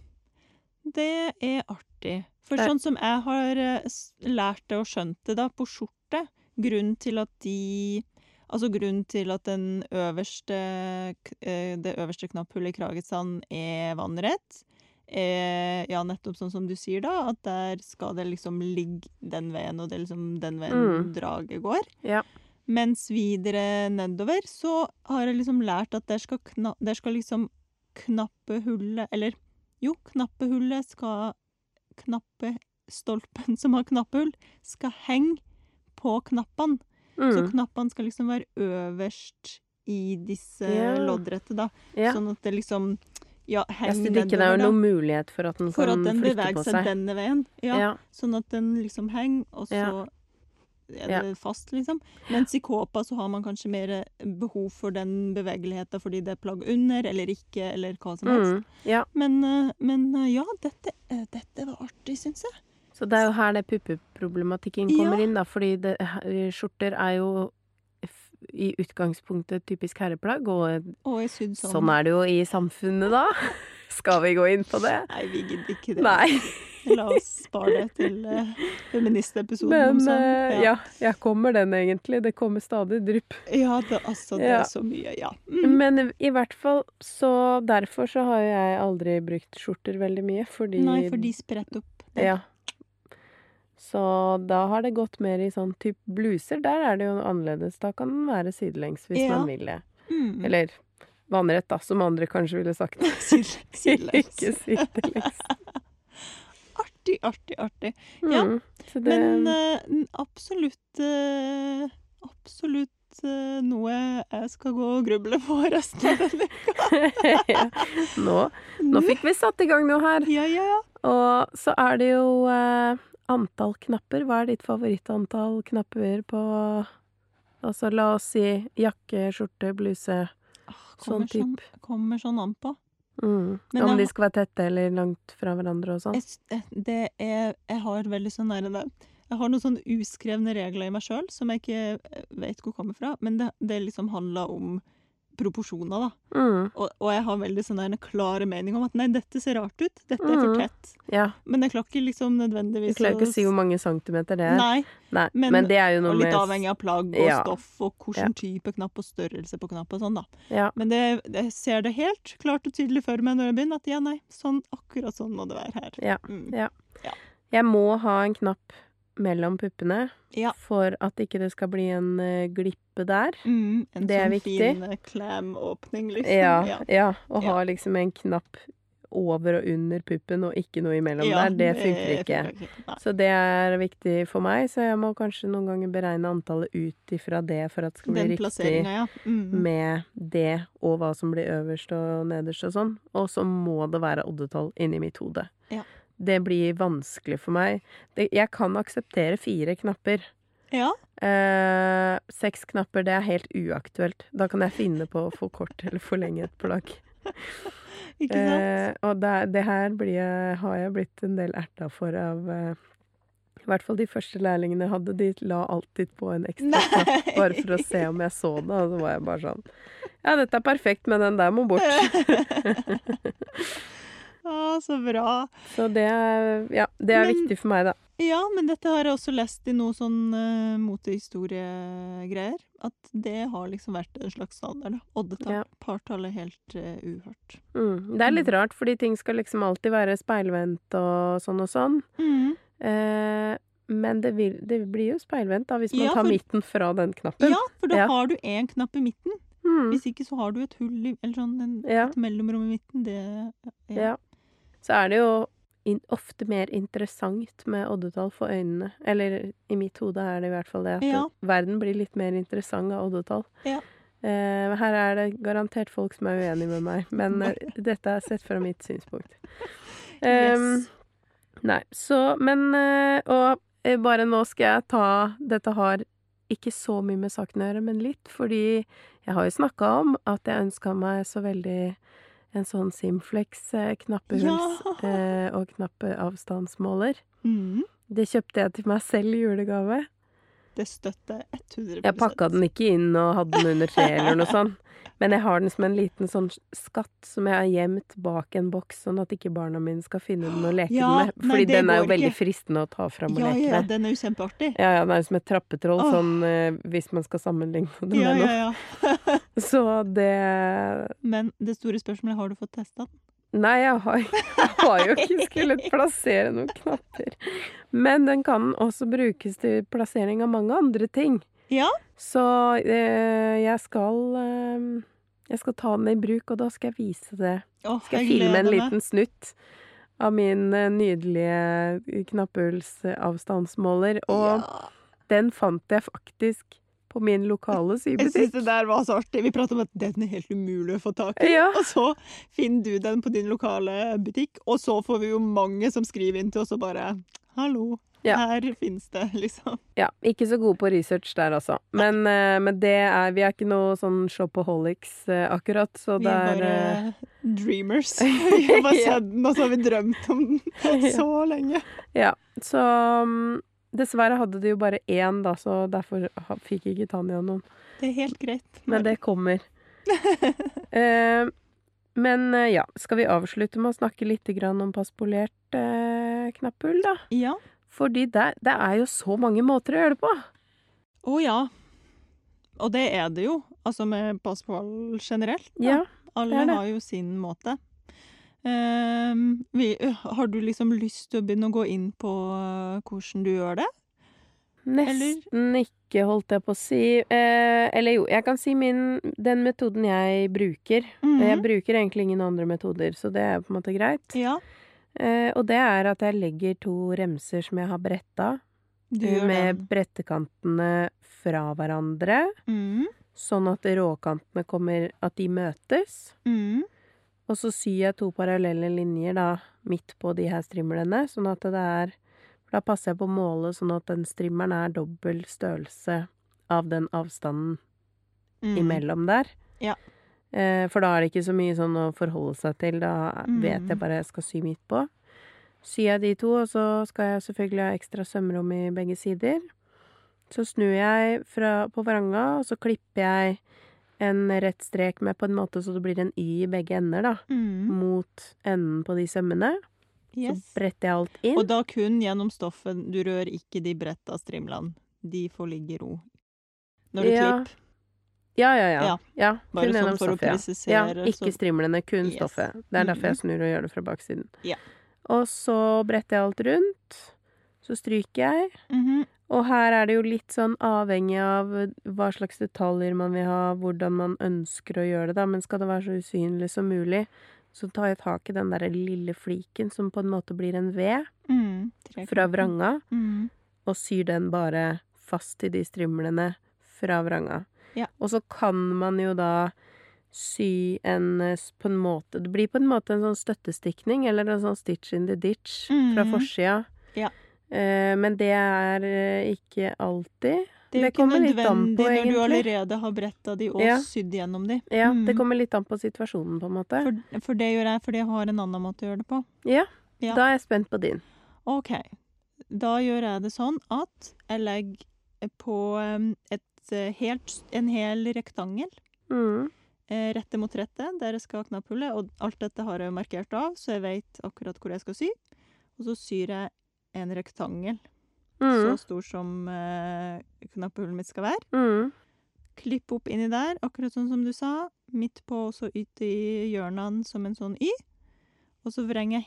[SPEAKER 2] Det er artig. For
[SPEAKER 1] Det-
[SPEAKER 2] sånn som jeg har eh, s- lært det og skjønt det da, på skjorte, grunnen til at de Altså grunnen til at den øverste, k- eh, det øverste knapphullet i Kragesand er vannrett, er ja, nettopp sånn som du sier da, at der skal det liksom ligge den veien, og det er liksom den veien
[SPEAKER 1] Mm.
[SPEAKER 2] draget går.
[SPEAKER 1] Ja.
[SPEAKER 2] Mens videre nedover så har jeg liksom lært at der skal, kna der skal liksom knappehullet Eller jo, knappehullet skal Knappestolpen som har knappehull, skal henge på knappene. Så
[SPEAKER 1] Mm.
[SPEAKER 2] knappene skal liksom være øverst i disse
[SPEAKER 1] Ja.
[SPEAKER 2] loddrette, da.
[SPEAKER 1] ja.
[SPEAKER 2] Sånn at det liksom ja,
[SPEAKER 1] Jeg
[SPEAKER 2] henger
[SPEAKER 1] synes ikke det er jo
[SPEAKER 2] da.
[SPEAKER 1] noen mulighet for at den
[SPEAKER 2] For
[SPEAKER 1] kan
[SPEAKER 2] at den
[SPEAKER 1] flytte
[SPEAKER 2] beveger
[SPEAKER 1] på
[SPEAKER 2] seg
[SPEAKER 1] seg.
[SPEAKER 2] denne veien. Ja.
[SPEAKER 1] Ja.
[SPEAKER 2] Sånn at den liksom henger, og så
[SPEAKER 1] Ja.
[SPEAKER 2] er det fast, liksom. Mens i kåpa så har man kanskje mer eh, behov for den bevegeligheten fordi det er plagg under eller ikke, eller hva som helst.
[SPEAKER 1] Mm. ja.
[SPEAKER 2] Men, eh, men eh, ja, dette, eh, dette var artig, syns jeg.
[SPEAKER 1] Så det er jo her det puppeproblematikken
[SPEAKER 2] Ja.
[SPEAKER 1] kommer inn, da. Fordi det, eh, skjorter er jo f- i utgangspunktet typisk herreplagg, og
[SPEAKER 2] Og jeg sydd sånn.
[SPEAKER 1] sånn er det jo i samfunnet, da. Skal vi gå inn på det?
[SPEAKER 2] Nei, vi gidder ikke det.
[SPEAKER 1] Nei.
[SPEAKER 2] La oss spare det til eh, feministepisoden
[SPEAKER 1] Men
[SPEAKER 2] om sånn.
[SPEAKER 1] eh, ja, jeg kommer den egentlig. Det kommer stadig drypp.
[SPEAKER 2] ja det, altså, det
[SPEAKER 1] Ja.
[SPEAKER 2] er så mye, ja. Mm.
[SPEAKER 1] Men i hvert fall så Derfor så har jeg aldri brukt skjorter veldig mye, fordi
[SPEAKER 2] Nei, for de spretter opp. der.
[SPEAKER 1] Ja. Så da har det gått mer i sånn type bluser. Der er det jo annerledes. Da kan den være sidelengs hvis
[SPEAKER 2] Ja.
[SPEAKER 1] man vil det.
[SPEAKER 2] Mm.
[SPEAKER 1] Eller vannrett, da, som andre kanskje ville sagt.
[SPEAKER 2] Sidelengs.
[SPEAKER 1] Ikke sidelengs.
[SPEAKER 2] Artig, artig, artig.
[SPEAKER 1] Mm.
[SPEAKER 2] Ja, eh,
[SPEAKER 1] Så det
[SPEAKER 2] Men eh, n- absolutt eh, Absolutt eh, noe jeg skal gå og gruble på resten av denne.
[SPEAKER 1] Ja. nå, nå fikk vi satt i gang noe her.
[SPEAKER 2] Ja, ja, ja.
[SPEAKER 1] Og så er det jo eh, antall knapper. Hva er ditt favorittantall knapper på Altså, la oss si jakke, skjorte, bluse.
[SPEAKER 2] Ah,
[SPEAKER 1] Sånn
[SPEAKER 2] Kommer sånn, kommer sånn an på.
[SPEAKER 1] Mm.
[SPEAKER 2] Men
[SPEAKER 1] Om
[SPEAKER 2] jeg
[SPEAKER 1] de
[SPEAKER 2] har-
[SPEAKER 1] skal være tette eller langt fra hverandre og sånn.
[SPEAKER 2] Jeg, s- eh, det er, jeg har veldig sånn nære det. Jeg har noen sånne uskrevne regler i meg sjøl som jeg ikke eh, vet hvor kommer fra, men det, det liksom handler om proporsjoner, da.
[SPEAKER 1] Mm.
[SPEAKER 2] Og, og jeg har veldig sånn en klare mening om at nei, dette ser rart ut, dette er for
[SPEAKER 1] Mhm.
[SPEAKER 2] tett.
[SPEAKER 1] Ja.
[SPEAKER 2] Men jeg klarer ikke liksom
[SPEAKER 1] Du
[SPEAKER 2] nødvendigvis
[SPEAKER 1] klarer ikke å si hvor mange centimeter det er.
[SPEAKER 2] Nei,
[SPEAKER 1] Nei,
[SPEAKER 2] men-
[SPEAKER 1] men, det er jo noe
[SPEAKER 2] og
[SPEAKER 1] med
[SPEAKER 2] litt avhengig av plagg og
[SPEAKER 1] Ja.
[SPEAKER 2] stoff og hvilken type knapp og størrelse på knapp og sånn, da.
[SPEAKER 1] Ja.
[SPEAKER 2] Men det, jeg ser det helt klart og tydelig for meg når jeg begynner, at ja, nei, sånn, akkurat sånn må det være her.
[SPEAKER 1] Ja.
[SPEAKER 2] Mm.
[SPEAKER 1] Jeg må ha en knapp mellom puppene
[SPEAKER 2] Ja.
[SPEAKER 1] for at ikke det skal bli en eh, glippe der.
[SPEAKER 2] Mm, en
[SPEAKER 1] Det er
[SPEAKER 2] sånn
[SPEAKER 1] viktig.
[SPEAKER 2] fin eh, klemåpning, liksom.
[SPEAKER 1] Ja, ja. Og
[SPEAKER 2] Ja.
[SPEAKER 1] ha liksom en knapp over og under puppen og ikke noe imellom
[SPEAKER 2] Ja, eh,
[SPEAKER 1] der. Det funker ikke.
[SPEAKER 2] Nei.
[SPEAKER 1] Så det er viktig for meg, så jeg må kanskje noen ganger beregne antallet ut ifra det for at det skal bli
[SPEAKER 2] Den
[SPEAKER 1] riktig
[SPEAKER 2] plasseringa, ja. Mm.
[SPEAKER 1] med det og hva som blir øverst og nederst og sånn. Og så må det være oddetall inni mitt hode.
[SPEAKER 2] Ja.
[SPEAKER 1] Det blir vanskelig for meg. Det, jeg kan akseptere fire knapper.
[SPEAKER 2] Ja.
[SPEAKER 1] Eh, seks knapper, det er helt uaktuelt. Da kan jeg finne på å forkorte eller forlenge et plagg.
[SPEAKER 2] Ikke sant?
[SPEAKER 1] Eh, og det, det her blir jeg, har jeg blitt en del erta for av eh, I hvert fall de første lærlingene jeg hadde. De la alltid på en ekstra knapp
[SPEAKER 2] Nei.
[SPEAKER 1] bare for å se om jeg så det. Og så var jeg bare sånn Ja, dette er perfekt, men den der må bort.
[SPEAKER 2] Å, så bra.
[SPEAKER 1] Så det er, ja, det er
[SPEAKER 2] Men-
[SPEAKER 1] viktig for meg, da.
[SPEAKER 2] Ja, men dette har jeg også lest i noe sånn uh, motehistoriegreier. At det har liksom vært en slags standard. da. Oddetall.
[SPEAKER 1] Ja.
[SPEAKER 2] Partall er helt eh, uhørt.
[SPEAKER 1] Mm. Det er litt rart, fordi ting skal liksom alltid være speilvendt og sånn og sånn. Eh, men det, vil, det blir jo speilvendt, da, hvis man
[SPEAKER 2] Ja,
[SPEAKER 1] tar
[SPEAKER 2] for-
[SPEAKER 1] midten fra den knappen.
[SPEAKER 2] Ja, for da
[SPEAKER 1] Ja.
[SPEAKER 2] har du én knapp i midten.
[SPEAKER 1] Mm.
[SPEAKER 2] Hvis ikke så har du et hull i Eller sånn en,
[SPEAKER 1] Ja.
[SPEAKER 2] et mellomrom i midten. Det
[SPEAKER 1] Ja. så er det jo in ofte mer interessant med oddetall for øynene. Eller i mitt hode er det i hvert fall det at
[SPEAKER 2] Ja.
[SPEAKER 1] verden blir litt mer interessant av oddetall.
[SPEAKER 2] Ja.
[SPEAKER 1] Eh, her er det garantert folk som er uenig med meg, men eh, dette er sett fra mitt synspunkt. Ehm, Em,
[SPEAKER 2] Yes.
[SPEAKER 1] Nei, så Men eh, Og eh, bare nå skal jeg ta Dette har ikke så mye med saken å gjøre, men litt, fordi jeg har jo snakka om at jeg ønska meg så veldig en sånn Simflex-knappehuls
[SPEAKER 2] Ja.
[SPEAKER 1] eh, og knappeavstandsmåler.
[SPEAKER 2] Mhm.
[SPEAKER 1] Det kjøpte jeg til meg selv i julegave.
[SPEAKER 2] Det støtter jeg 100
[SPEAKER 1] Jeg pakka den ikke inn og hadde den under treet eller noe sånt. Men jeg har den som en liten sånn skatt som jeg har gjemt bak en boks, sånn at ikke barna mine skal finne den og leke
[SPEAKER 2] Ja,
[SPEAKER 1] den med.
[SPEAKER 2] nei,
[SPEAKER 1] Fordi
[SPEAKER 2] det
[SPEAKER 1] den er jo
[SPEAKER 2] går
[SPEAKER 1] veldig
[SPEAKER 2] ikke.
[SPEAKER 1] fristende å ta fram og
[SPEAKER 2] Ja,
[SPEAKER 1] leke
[SPEAKER 2] ja,
[SPEAKER 1] med.
[SPEAKER 2] den er jo kjempeartig.
[SPEAKER 1] Ja, ja, den er jo som et trappetroll,
[SPEAKER 2] Åh.
[SPEAKER 1] sånn eh, hvis man skal sammenligne det
[SPEAKER 2] Ja,
[SPEAKER 1] med noe.
[SPEAKER 2] ja, ja.
[SPEAKER 1] Så det
[SPEAKER 2] Men det store spørsmålet er har du fått testa den.
[SPEAKER 1] Nei, jeg har, jeg har jo ikke skullet plassere noen knapper. Men den kan også brukes til plassering av mange andre ting.
[SPEAKER 2] Ja.
[SPEAKER 1] Så eh, jeg skal eh, Jeg skal ta den i bruk, og da skal jeg vise det.
[SPEAKER 2] Åh,
[SPEAKER 1] Skal jeg,
[SPEAKER 2] jeg
[SPEAKER 1] filme en
[SPEAKER 2] gleder meg.
[SPEAKER 1] liten snutt av min eh, nydelige knappehullsavstandsmåler. Og
[SPEAKER 2] Ja.
[SPEAKER 1] den fant jeg faktisk på min lokale
[SPEAKER 2] Jeg syns
[SPEAKER 1] sybutikk.
[SPEAKER 2] det der var så artig. Vi prater om at den er helt umulig å få tak i.
[SPEAKER 1] Ja.
[SPEAKER 2] Og så finner du den på din lokale butikk, og så får vi jo mange som skriver inn til oss og bare Hallo,
[SPEAKER 1] Ja.
[SPEAKER 2] her finnes det, liksom.
[SPEAKER 1] Ja, ikke så gode på research der, altså. Men, eh, men det er, vi er ikke noe sånn shopaholics eh, akkurat, så
[SPEAKER 2] Vi
[SPEAKER 1] det
[SPEAKER 2] er
[SPEAKER 1] er
[SPEAKER 2] bare
[SPEAKER 1] eh,
[SPEAKER 2] dreamers. Vi har bare
[SPEAKER 1] Ja.
[SPEAKER 2] sett den, og så har vi drømt om den så lenge.
[SPEAKER 1] Ja. Så mm, dessverre hadde de jo bare én, da, så derfor ha- fikk ikke Tanja noen.
[SPEAKER 2] Det er helt greit.
[SPEAKER 1] Men det kommer. Eh, men eh, ja, skal vi avslutte med å snakke litt grann om paspolert eh, knapphull, da?
[SPEAKER 2] Ja.
[SPEAKER 1] Fordi det, det er jo så mange måter å gjøre det på.
[SPEAKER 2] Å ja. Og det er det jo. Altså med passball generelt. da.
[SPEAKER 1] Ja.
[SPEAKER 2] Alle
[SPEAKER 1] Det er det.
[SPEAKER 2] har jo sin måte. Ehm, vi, har du liksom lyst til å begynne å gå inn på eh, hvordan du gjør det?
[SPEAKER 1] Nesten ikke, holdt jeg på å si. Eh, eller jo, jeg kan si min Den metoden jeg bruker. Jeg bruker egentlig ingen andre metoder, så det er på en måte greit.
[SPEAKER 2] Mm. Mhm. Ja,
[SPEAKER 1] Eh, og det er at jeg legger to remser som jeg har bretta,
[SPEAKER 2] Du gjør
[SPEAKER 1] med
[SPEAKER 2] den.
[SPEAKER 1] brettekantene fra hverandre,
[SPEAKER 2] Mm,
[SPEAKER 1] sånn at råkantene kommer At de møtes.
[SPEAKER 2] mm,
[SPEAKER 1] Og så syr jeg to parallelle linjer da, midt på de her strimlene, sånn at det er for Da passer jeg på målet sånn at den strimmelen er dobbel størrelse av den avstanden
[SPEAKER 2] mm.
[SPEAKER 1] imellom der.
[SPEAKER 2] Ja.
[SPEAKER 1] Eh, for da er det ikke så mye sånn å forholde seg til. Da vet
[SPEAKER 2] Mm.
[SPEAKER 1] jeg bare jeg skal sy midt på. Syr jeg de to, og så skal jeg selvfølgelig ha ekstra sømrom i begge sider. Så snur jeg fra, på vranga, og så klipper jeg en rett strek med på en måte så det blir en Y i begge ender, da.
[SPEAKER 2] Mm,
[SPEAKER 1] Mot enden på de sømmene.
[SPEAKER 2] yes.
[SPEAKER 1] Så bretter jeg alt inn.
[SPEAKER 2] Og da kun gjennom stoffet. Du rør ikke de bretta strimlene. De får ligge i ro. Når du
[SPEAKER 1] Ja,
[SPEAKER 2] klipper.
[SPEAKER 1] Ja, ja, ja.
[SPEAKER 2] Ja.
[SPEAKER 1] ja.
[SPEAKER 2] Bare
[SPEAKER 1] kun
[SPEAKER 2] sånn
[SPEAKER 1] gjennom
[SPEAKER 2] for å
[SPEAKER 1] stoffet, ja.
[SPEAKER 2] presisere.
[SPEAKER 1] Ja, ikke
[SPEAKER 2] så,
[SPEAKER 1] strimlene, kun
[SPEAKER 2] Yes.
[SPEAKER 1] stoffet. Det er derfor
[SPEAKER 2] Mhm.
[SPEAKER 1] jeg snur og gjør det fra baksiden.
[SPEAKER 2] Ja.
[SPEAKER 1] Og så bretter jeg alt rundt. Så stryker jeg.
[SPEAKER 2] Mhm,
[SPEAKER 1] Og her er det jo litt sånn avhengig av hva slags detaljer man vil ha, hvordan man ønsker å gjøre det, da. Men skal det være så usynlig som mulig, så tar jeg tak i den derre lille fliken som på en måte blir en V
[SPEAKER 2] mm, trekanten.
[SPEAKER 1] fra vranga,
[SPEAKER 2] Mm,
[SPEAKER 1] og syr den bare fast til de strimlene fra vranga.
[SPEAKER 2] Ja.
[SPEAKER 1] Og så kan man jo da sy en eh, s- på en måte Det blir på en måte en sånn støttestikning, eller en sånn stitch in the ditch fra
[SPEAKER 2] Mhm.
[SPEAKER 1] forsida.
[SPEAKER 2] Ja.
[SPEAKER 1] Eh, Men det er eh, ikke alltid.
[SPEAKER 2] Det er jo
[SPEAKER 1] Det
[SPEAKER 2] ikke
[SPEAKER 1] kommer litt
[SPEAKER 2] nødvendig
[SPEAKER 1] an på,
[SPEAKER 2] når du
[SPEAKER 1] egentlig.
[SPEAKER 2] allerede har bretta de og
[SPEAKER 1] Ja.
[SPEAKER 2] sydd gjennom de.
[SPEAKER 1] Ja, Det
[SPEAKER 2] Mm.
[SPEAKER 1] kommer litt an på situasjonen, på en måte.
[SPEAKER 2] For, for det gjør jeg fordi jeg har en annen måte å gjøre det på.
[SPEAKER 1] ja.
[SPEAKER 2] Ja.
[SPEAKER 1] Da er jeg spent på din.
[SPEAKER 2] OK. Da gjør jeg det sånn at jeg legger på em, et eh, helt, en hel rektangel
[SPEAKER 1] Mm.
[SPEAKER 2] eh, rette mot rette, der jeg skal ha knapphullet. Og alt dette har jeg jo markert av, så jeg vet akkurat hvor jeg skal sy. Og så syr jeg en rektangel så
[SPEAKER 1] Mm.
[SPEAKER 2] stor som eh, knapphullet mitt skal være.
[SPEAKER 1] Mm.
[SPEAKER 2] Klipp opp inni der, akkurat sånn som du sa. Midt på og så ut i hjørnene som en sånn Y. Og så vrenger jeg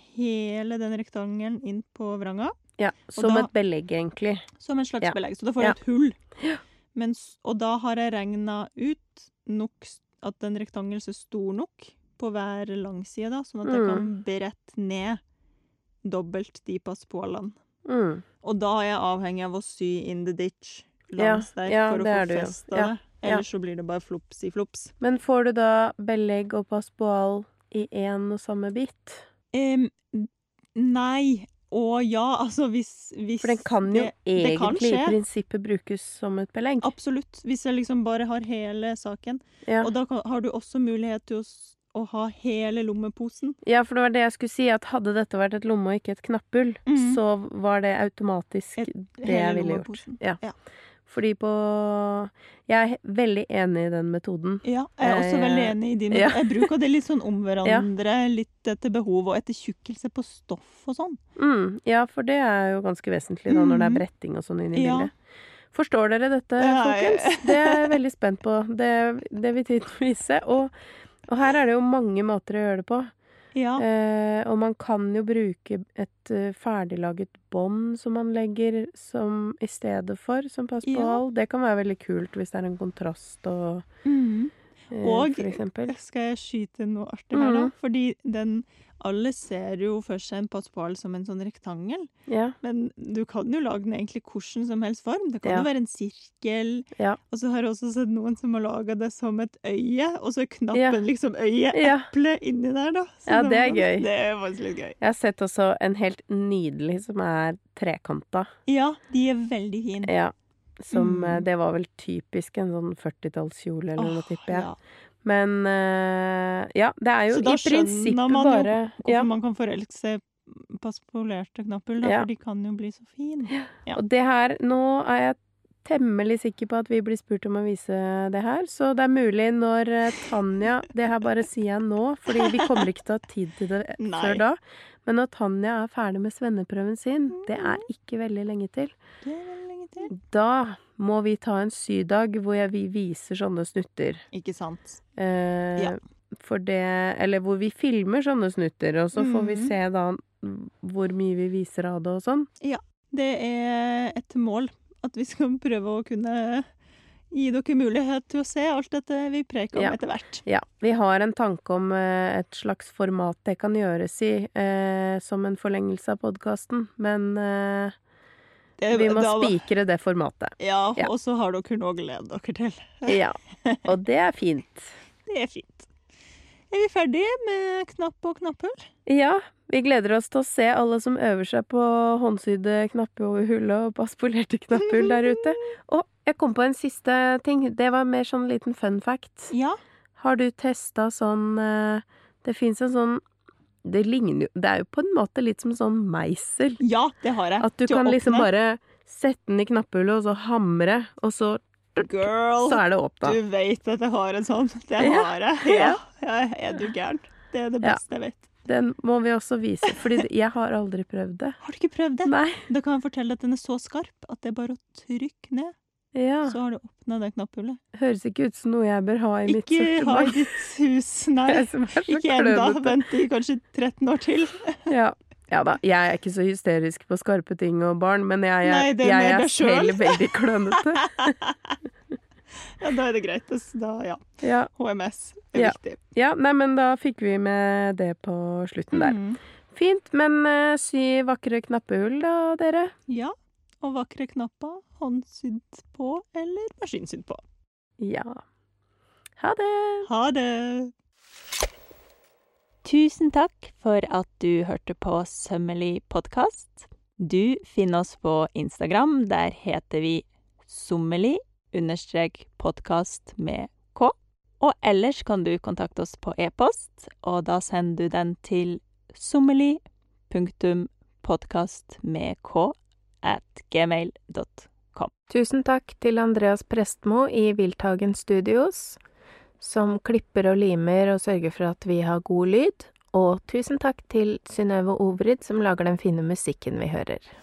[SPEAKER 2] hele den rektangelen inn på vranga,
[SPEAKER 1] Ja, Som
[SPEAKER 2] da-
[SPEAKER 1] et belegg, egentlig.
[SPEAKER 2] som en slags
[SPEAKER 1] Ja.
[SPEAKER 2] belegg. Så da
[SPEAKER 1] Ja.
[SPEAKER 2] får jeg et hull. Men s- og da har jeg regna ut nok s- at en rektangel er stor nok på hver langside, da, sånn at jeg kan
[SPEAKER 1] Mm.
[SPEAKER 2] brette ned dobbelt de passpålene.
[SPEAKER 1] Mm.
[SPEAKER 2] Og da er jeg avhengig av å sy in the ditch
[SPEAKER 1] Ja,
[SPEAKER 2] langs der
[SPEAKER 1] ja,
[SPEAKER 2] for å
[SPEAKER 1] det er
[SPEAKER 2] få
[SPEAKER 1] du jo.
[SPEAKER 2] festa
[SPEAKER 1] Ja,
[SPEAKER 2] det.
[SPEAKER 1] ja.
[SPEAKER 2] Ellers så blir det bare flops i flops.
[SPEAKER 1] Men får du da belegg og passepoal i én og samme bit?
[SPEAKER 2] Em, nei og ja, altså hvis, hvis
[SPEAKER 1] For den kan jo
[SPEAKER 2] det- det kan
[SPEAKER 1] egentlig i
[SPEAKER 2] skje.
[SPEAKER 1] prinsippet brukes som et belegg.
[SPEAKER 2] Absolutt. Hvis jeg liksom bare har hele saken.
[SPEAKER 1] Ja.
[SPEAKER 2] Og da kan, har du også mulighet til å, s- å ha hele lommeposen.
[SPEAKER 1] ja, for det var det jeg skulle si, at hadde dette vært et lomme og ikke et knapphull,
[SPEAKER 2] Mhm.
[SPEAKER 1] så var det automatisk
[SPEAKER 2] Et-
[SPEAKER 1] det jeg
[SPEAKER 2] hele
[SPEAKER 1] ville gjort.
[SPEAKER 2] lommeposen.
[SPEAKER 1] Ja.
[SPEAKER 2] Ja.
[SPEAKER 1] Fordi på Jeg er veldig enig i den metoden.
[SPEAKER 2] Ja, jeg er også
[SPEAKER 1] Eh,
[SPEAKER 2] veldig enig i din.
[SPEAKER 1] ja.
[SPEAKER 2] Jeg bruker det litt sånn om hverandre, litt etter behov og etter tjukkelse på stoff og sånn.
[SPEAKER 1] Mm, ja, for det er jo ganske vesentlig da, når det er
[SPEAKER 2] Mhm.
[SPEAKER 1] bretting og sånn inn i
[SPEAKER 2] Ja.
[SPEAKER 1] bildet. Forstår dere dette,
[SPEAKER 2] Nei.
[SPEAKER 1] folkens? Det er jeg veldig spent på. Det, det vil tiden vise. Og, og her er det jo mange måter å gjøre det på.
[SPEAKER 2] Ja.
[SPEAKER 1] Eh, og man kan jo bruke et eh, ferdiglaget bånd som man legger som, i stedet for som passpål. Det kan være veldig kult hvis det er en kontrast og
[SPEAKER 2] Mm.
[SPEAKER 1] eh,
[SPEAKER 2] Og-
[SPEAKER 1] for eksempel.
[SPEAKER 2] Skal jeg skyte inn noe artig her, da?
[SPEAKER 1] Mhm.
[SPEAKER 2] Fordi den Alle ser jo for seg en passpal som en sånn rektangel.
[SPEAKER 1] Ja.
[SPEAKER 2] Men du kan jo lage den egentlig hvordan som helst form. Det kan
[SPEAKER 1] Ja.
[SPEAKER 2] jo være en sirkel.
[SPEAKER 1] Ja.
[SPEAKER 2] Og så har jeg også sett noen som har laga det som et øye, og så er knappen
[SPEAKER 1] Ja.
[SPEAKER 2] liksom øyeeplet
[SPEAKER 1] ja.
[SPEAKER 2] inni der, da. Så
[SPEAKER 1] Ja,
[SPEAKER 2] da
[SPEAKER 1] det er
[SPEAKER 2] må man-
[SPEAKER 1] gøy.
[SPEAKER 2] Det er faktisk litt gøy.
[SPEAKER 1] Jeg har sett også en helt nydelig som er trekanta.
[SPEAKER 2] Ja, de er veldig fine.
[SPEAKER 1] Ja. Som
[SPEAKER 2] Mm.
[SPEAKER 1] eh, Det var vel typisk en sånn 40-tallskjole eller noe,
[SPEAKER 2] Åh,
[SPEAKER 1] tipper jeg.
[SPEAKER 2] ja.
[SPEAKER 1] Men eh, ja, det er jo
[SPEAKER 2] Så da
[SPEAKER 1] i
[SPEAKER 2] skjønner
[SPEAKER 1] prinsippet
[SPEAKER 2] man jo
[SPEAKER 1] bare
[SPEAKER 2] Hvorfor
[SPEAKER 1] ja.
[SPEAKER 2] man kan forelske seg i passpolerte knapphull, da,
[SPEAKER 1] Ja.
[SPEAKER 2] for de kan jo bli så fine. Ja.
[SPEAKER 1] Og det her Nå er jeg temmelig sikker på at vi blir spurt om å vise det her, så det er mulig når eh, Tanja Det her bare sier jeg nå, fordi vi kommer ikke til å ha tid til det eh,
[SPEAKER 2] Nei.
[SPEAKER 1] før da. Men når Tanja er ferdig med svenneprøven sin, det er
[SPEAKER 2] Mm.
[SPEAKER 1] ikke veldig lenge til,
[SPEAKER 2] Det er vel lenge til.
[SPEAKER 1] da må vi ta en sydag hvor jeg, vi viser sånne snutter.
[SPEAKER 2] Ikke sant.
[SPEAKER 1] Eh,
[SPEAKER 2] Ja.
[SPEAKER 1] For det Eller hvor vi filmer sånne snutter, og så får vi
[SPEAKER 2] Mhm.
[SPEAKER 1] se da hvor mye vi viser av det og sånn.
[SPEAKER 2] Det er et mål at vi skal prøve å kunne gi dere mulighet til å se alt dette vi preker om
[SPEAKER 1] Ja.
[SPEAKER 2] etter hvert.
[SPEAKER 1] Ja, vi har en tanke om eh, et slags format det kan gjøres i, eh, som en forlengelse av podkasten, men eh,
[SPEAKER 2] Det-
[SPEAKER 1] Vi må
[SPEAKER 2] da-
[SPEAKER 1] spikre det formatet.
[SPEAKER 2] Ja,
[SPEAKER 1] Ja.
[SPEAKER 2] og så har dere noe å glede dere til.
[SPEAKER 1] Ja. Og det er fint.
[SPEAKER 2] Det er fint. Er vi ferdige med knapp og knapphull?
[SPEAKER 1] Ja, vi gleder oss til å se alle som øver seg på håndsydde knappehull og på spolerte knapphull der ute. Og jeg kom på en siste ting. Det var mer sånn liten fun fact.
[SPEAKER 2] Ja.
[SPEAKER 1] Har du testa sånn eh, Det fins en sånn Det ligner jo Det er jo på en måte litt som sånn meisel.
[SPEAKER 2] Ja, det har jeg.
[SPEAKER 1] At du
[SPEAKER 2] Til å
[SPEAKER 1] kan liksom
[SPEAKER 2] åpne.
[SPEAKER 1] bare sette den i knapphullet, og så hamre, og så,
[SPEAKER 2] Girl,
[SPEAKER 1] så er det åpna.
[SPEAKER 2] du vet at jeg har en sånn. Det
[SPEAKER 1] Ja.
[SPEAKER 2] har jeg. Ja. ja. Er du gæren? Det er det
[SPEAKER 1] Ja.
[SPEAKER 2] beste jeg vet.
[SPEAKER 1] Den må vi også vise, fordi det- jeg har aldri prøvd det.
[SPEAKER 2] Har du ikke prøvd det?
[SPEAKER 1] Nei.
[SPEAKER 2] Da kan jeg fortelle at den er så skarp at det er bare å trykke ned,
[SPEAKER 1] Ja.
[SPEAKER 2] så har du åpna det knapphullet.
[SPEAKER 1] Høres ikke ut som noe jeg bør ha i mitt
[SPEAKER 2] Ikke ha i
[SPEAKER 1] sortiment.
[SPEAKER 2] ditt hus, nei.
[SPEAKER 1] Jeg som er så
[SPEAKER 2] Ikke ennå.
[SPEAKER 1] klønete.
[SPEAKER 2] Vent i kanskje 13 år til.
[SPEAKER 1] Ja. ja da, jeg er ikke så hysterisk på skarpe ting og barn, men jeg, er-
[SPEAKER 2] Nei, det er
[SPEAKER 1] jeg
[SPEAKER 2] mer
[SPEAKER 1] er
[SPEAKER 2] deg selv.
[SPEAKER 1] selv veldig klønete.
[SPEAKER 2] Ja, da er det greit. altså. Da, ja.
[SPEAKER 1] Ja.
[SPEAKER 2] HMS er
[SPEAKER 1] Ja.
[SPEAKER 2] viktig.
[SPEAKER 1] ja, nei, men da fikk vi med det på slutten der.
[SPEAKER 2] Mm.
[SPEAKER 1] Fint, men eh, sy vakre knappehull da, dere.
[SPEAKER 2] Ja, og vakre knapper, håndsydd på eller maskinsydd på.
[SPEAKER 1] Ja. Ha det!
[SPEAKER 2] Ha det!
[SPEAKER 3] Tusen takk for at du hørte på Sømmelig podkast. Du finner oss på Instagram. Der heter vi sommerlig understrek podkast med k. Og ellers kan du kontakte oss på e-post, og da sender du den til sommerlig punktum podkast med k at gmail.com.
[SPEAKER 1] Tusen takk til Andreas Prestmo i Wildtagen Studios, som klipper og limer og sørger for at vi har god lyd. Og tusen takk til Synnøve Obrid, som lager den fine musikken vi hører.